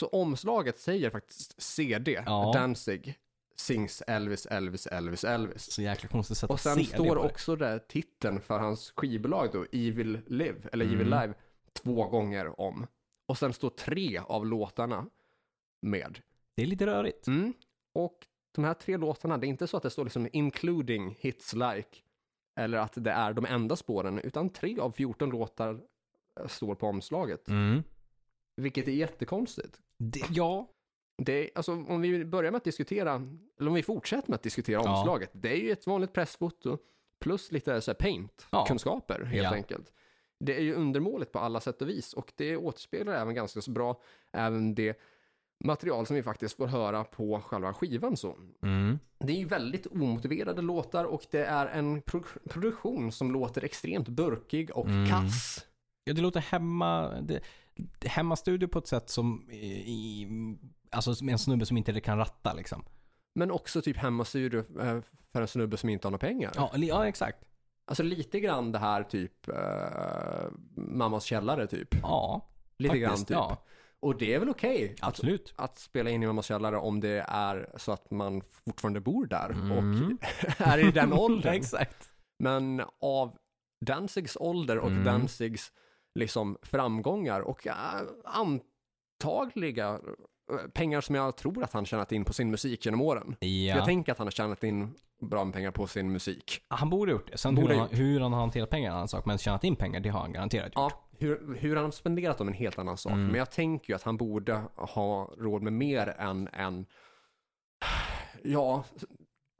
Speaker 1: Så omslaget säger faktiskt CD,
Speaker 2: Ja.
Speaker 1: Danzig, Sings Elvis, Elvis, Elvis, Elvis.
Speaker 2: Så jäkla konstigt sätt
Speaker 1: Och
Speaker 2: att
Speaker 1: sen
Speaker 2: se det
Speaker 1: står
Speaker 2: på det.
Speaker 1: också där titeln för hans skivbolag då, Evil Live, eller Evil
Speaker 2: Mm.
Speaker 1: Live, två gånger om. Och sen står tre av låtarna med.
Speaker 2: Det är lite rörigt.
Speaker 1: Mm. Och de här tre låtarna, det är inte så att det står liksom including hits like, eller att det är de enda spåren, utan tre av 14 låtar eh, står på omslaget.
Speaker 2: Mm.
Speaker 1: Vilket är jättekonstigt.
Speaker 2: Det, ja.
Speaker 1: Det är, alltså, om vi börjar med att diskutera, eller om vi fortsätter med att diskutera
Speaker 2: Ja.
Speaker 1: omslaget, det är ju ett vanligt pressfoto plus lite så här
Speaker 2: Ja.
Speaker 1: paint-kunskaper helt
Speaker 2: Ja.
Speaker 1: enkelt. Det är ju undermåligt på alla sätt och vis och det återspeglar även ganska så bra även det material som vi faktiskt får höra på själva skivan. Så.
Speaker 2: Mm.
Speaker 1: Det är ju väldigt omotiverade låtar och det är en pro- produktion som låter extremt burkig och
Speaker 2: Mm.
Speaker 1: kass.
Speaker 2: Ja, det låter hemma... Det, det- hemmastudio på ett sätt som... I, i, alltså som en snubbe som inte kan ratta liksom.
Speaker 1: Men också typ hemmastudio eh, för en snubbe som inte har några pengar.
Speaker 2: Ja, li- ja exakt.
Speaker 1: Alltså lite grann det här typ eh, mammas källare typ.
Speaker 2: Ja.
Speaker 1: Lite
Speaker 2: faktiskt,
Speaker 1: grann typ.
Speaker 2: Ja,
Speaker 1: Och det är väl okej att,
Speaker 2: absolut.
Speaker 1: att spela in i mammas källare om det är så att man fortfarande bor där och
Speaker 2: Mm.
Speaker 1: är i den åldern.
Speaker 2: exakt.
Speaker 1: Men av Danzigs ålder och
Speaker 2: Mm.
Speaker 1: Danzigs liksom framgångar och eh, antagliga eh, pengar som jag tror att han tjänat in på sin musik genom åren. Jag
Speaker 2: Ja.
Speaker 1: tänker att han har tjänat in bra med pengar på sin musik.
Speaker 2: Han borde ha gjort det. Sen
Speaker 1: Borde
Speaker 2: hur,
Speaker 1: ha
Speaker 2: han, hur han har hanterat pengar är en annan sak. Men tjänat in pengar, det har han garanterat gjort.
Speaker 1: Ja, hur, hur han har spenderat dem är en helt annan sak.
Speaker 2: Mm.
Speaker 1: Men jag tänker ju att han borde ha råd med mer än en, ja,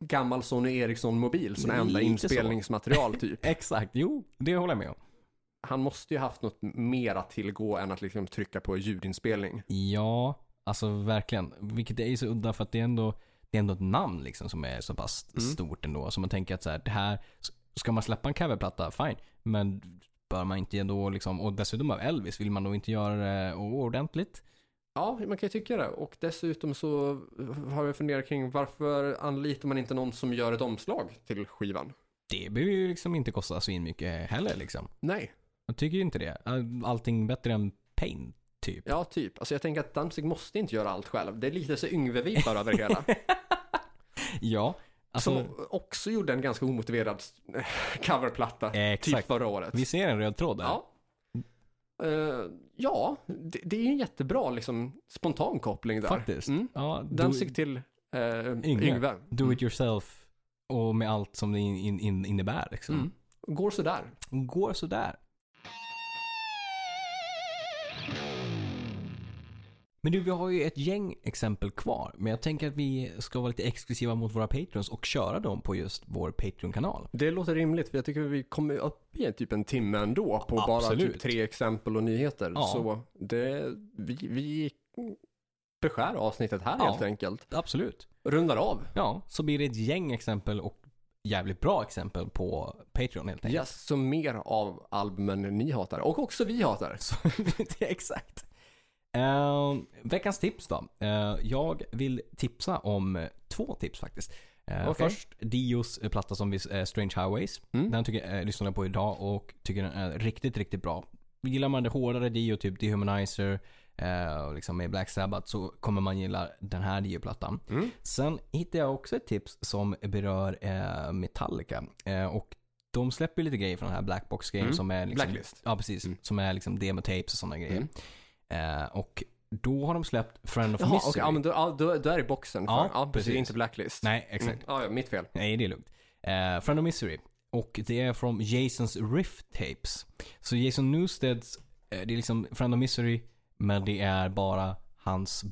Speaker 1: gammal Sony Ericsson-mobil som
Speaker 2: Lite
Speaker 1: enda
Speaker 2: så.
Speaker 1: inspelningsmaterial typ.
Speaker 2: Exakt, jo. Det håller jag med om.
Speaker 1: Han måste ju haft något mer att tillgå än att liksom trycka på ljudinspelning.
Speaker 2: Ja, alltså verkligen. Vilket är så udda för att det är ändå, det är ändå ett namn liksom som är så pass
Speaker 1: Mm.
Speaker 2: stort ändå. Så man tänker att så här, det här, ska man släppa en coverplatta, fine. Men bör man inte ändå liksom, och dessutom av Elvis, vill man då inte göra det ordentligt?
Speaker 1: Ja, man kan ju tycka det. Och dessutom så har jag funderat kring varför anlitar man inte någon som gör ett omslag till skivan?
Speaker 2: Det behöver ju liksom inte kosta svinmycket heller liksom.
Speaker 1: Nej,
Speaker 2: Jag tycker ju inte det. Allting bättre än pain, typ.
Speaker 1: ja typ. Alltså jag tänker att Danzig måste inte göra allt själv. Det är lite så yngve över det hela.
Speaker 2: Ja, alltså.
Speaker 1: Som också gjorde en ganska omotiverad coverplatta typ
Speaker 2: Eh, Exakt.
Speaker 1: förra året.
Speaker 2: Vi ser en röd tråd där.
Speaker 1: ja. Eh, ja, det, det är ju en jättebra liksom, spontan koppling där.
Speaker 2: Faktiskt.
Speaker 1: Mm.
Speaker 2: Ja,
Speaker 1: Den Mm.
Speaker 2: do,
Speaker 1: sig till eh,
Speaker 2: Yngve.
Speaker 1: Yngve.
Speaker 2: do it yourself och med allt som det in, in, in, innebär liksom.
Speaker 1: Mm. Går sådär.
Speaker 2: går sådär. Men du, vi har ju ett gäng exempel kvar. Men jag tänker att vi ska vara lite exklusiva mot våra patrons och köra dem på just vår Patreon-kanal.
Speaker 1: Det låter rimligt, för jag tycker vi kommer upp i typ en timme ändå på bara typ
Speaker 2: Absolut.
Speaker 1: tre exempel och nyheter.
Speaker 2: Ja.
Speaker 1: Så det, vi, vi beskär avsnittet här
Speaker 2: Ja.
Speaker 1: helt enkelt.
Speaker 2: Absolut.
Speaker 1: Rundar av.
Speaker 2: Ja, så blir det ett gäng exempel och jävligt bra exempel på Patreon helt enkelt.
Speaker 1: Yes, så mer av albumen ni hatar och också vi hatar.
Speaker 2: Så, det är exakt. Ehm, veckans tips då. Eh, jag vill tipsa om eh, två tips faktiskt. Eh,
Speaker 1: Okej.
Speaker 2: Först Dios eh, platta som vi, eh, Strange Highways.
Speaker 1: Mm.
Speaker 2: Den tycker jag eh, lyssnade på idag och tycker den är riktigt, riktigt bra. Gillar man det hårdare Dio, typ Dehumanizer eh, och liksom med Black Sabbath så kommer man gilla den här Dio-plattan.
Speaker 1: Mm.
Speaker 2: Sen hittade jag också ett tips som berör eh, Metallica. Eh, och de släpper ju lite grejer från den här Blackbox-grejen
Speaker 1: Mm.
Speaker 2: som är liksom,
Speaker 1: Blacklist.
Speaker 2: Ja, precis.
Speaker 1: Mm.
Speaker 2: Som är liksom demotapes och sådana grejer. Eh, och då har de släppt Friend of
Speaker 1: Jaha,
Speaker 2: Misery.
Speaker 1: okej, ja, men då, ja, då, då är det boxen. För, ja,
Speaker 2: Ja,
Speaker 1: precis.
Speaker 2: precis.
Speaker 1: Inte Blacklist.
Speaker 2: Nej, exakt.
Speaker 1: Mm. Ja, ja, mitt fel.
Speaker 2: Nej, det är lugnt. Eh, Friend of Misery. Och det är från Jasons Rift Tapes. Så Jason Newsteds, eh, det är liksom Friend of Misery, men det är bara hans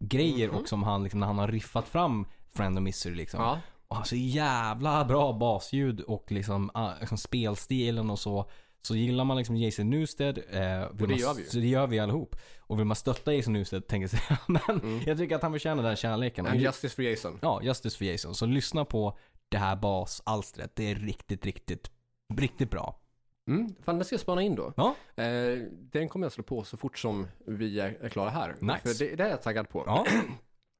Speaker 2: basgrejer och som han, liksom, när han har riffat fram Friend of Misery liksom.
Speaker 1: Mhm. Ja.
Speaker 2: Och han så jävla bra basljud och liksom, ah, liksom spelstilen och så. Så gillar man liksom Jason Newsted. Eh,
Speaker 1: det
Speaker 2: vill man,
Speaker 1: gör vi ju.
Speaker 2: Så det gör vi allihop. Och vill man stötta Jason Newsted tänker sig, "Ja, men jag tycker att han förtjänar den kärleken. Och
Speaker 1: Mm. And
Speaker 2: ju-
Speaker 1: Justice for Jason.
Speaker 2: ja, Justice for Jason. Så lyssna på det här basalstret. Det är riktigt, riktigt, riktigt bra.
Speaker 1: Mm. Fan, det ska jag spana in då.
Speaker 2: Ja,
Speaker 1: Eh, den kommer jag slå på så fort som vi är är klara här.
Speaker 2: Nice.
Speaker 1: För det, det är jag taggad på.
Speaker 2: ja,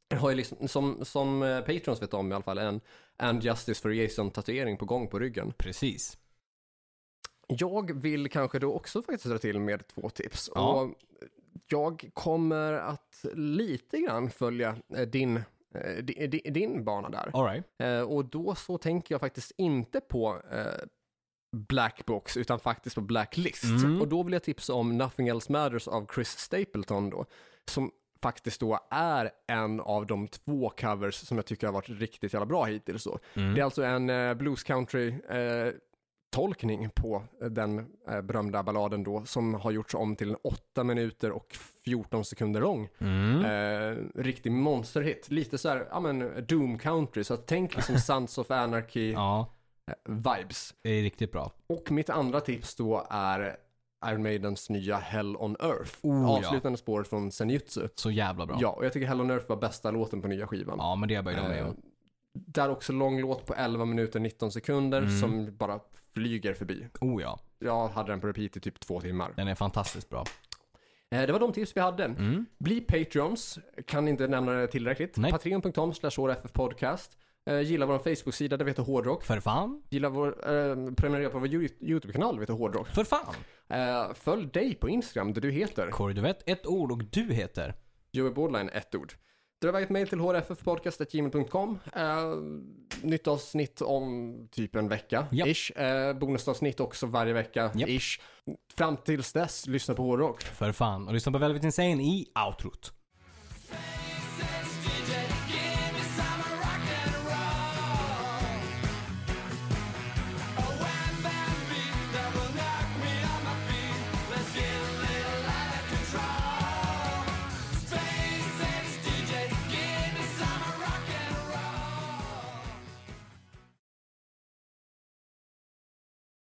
Speaker 1: Jag har ju liksom, som, som eh, Patrons vet om i alla fall, en And Justice for Jason tatuering på gång på ryggen.
Speaker 2: precis.
Speaker 1: Jag vill kanske då också faktiskt dra till med två tips.
Speaker 2: Ja.
Speaker 1: Och jag kommer att lite grann följa eh, din, eh, di- di- din bana där.
Speaker 2: All right.
Speaker 1: Eh, Och då så tänker jag faktiskt inte på eh, Black Box utan faktiskt på Blacklist.
Speaker 2: Mm.
Speaker 1: Och då vill jag tipsa om Nothing Else Matters av Chris Stapleton då. Som faktiskt då är en av de två covers som jag tycker har varit riktigt jävla bra hittills. Då. Det är alltså en eh, blues country eh, tolkning på eh, den eh, berömda balladen då som har gjorts om till en 8 minuter och 14 sekunder lång.
Speaker 2: Mm.
Speaker 1: Eh, riktig monsterhit. Lite så här, ja men Doom Country. Så att tänk liksom Sons of Anarchy-vibes.
Speaker 2: Ja, det är riktigt bra.
Speaker 1: Och mitt andra tips då är Iron Maidens nya Hell on Earth.
Speaker 2: Oh, ja.
Speaker 1: avslutande spåret från Senjutsu.
Speaker 2: Så jävla bra.
Speaker 1: Ja, och jag tycker Hell on Earth var bästa låten på nya skivan.
Speaker 2: Ja, men det är jag böjd med
Speaker 1: Eh,
Speaker 2: om.
Speaker 1: där också lång låt på 11 minuter 19 sekunder
Speaker 2: Mm.
Speaker 1: som bara flyger förbi.
Speaker 2: Oh ja,
Speaker 1: Jag hade den på repeat i typ två timmar.
Speaker 2: den är fantastiskt bra.
Speaker 1: Eh, Det var de tips vi hade. Bli Patreons, kan inte nämna det tillräckligt.
Speaker 2: Mm. Nej.
Speaker 1: Patreon.com slash podcast. Eh, Gilla vår Facebook-sida, där vi heter Hårdrock.
Speaker 2: För fan.
Speaker 1: Gilla vår, eh, prenumerera på vår Yo- YouTube-kanal, där vi heter Hårdrock.
Speaker 2: För fan.
Speaker 1: Eh, följ dig på Instagram, där du heter
Speaker 2: Corey, du vet ett ord och du heter?
Speaker 1: Joey Bordline, ett ord. Dra iväg ett mejl till hrffpodcast.gmail.com. Eh, nytt avsnitt om typ en vecka,
Speaker 2: Ja.
Speaker 1: ish. Eh, bonusavsnitt också varje vecka,
Speaker 2: Ja.
Speaker 1: ish. Fram tills dess, lyssna på hårdrock.
Speaker 2: För fan. Och lyssna på Velvet Insane i outrot.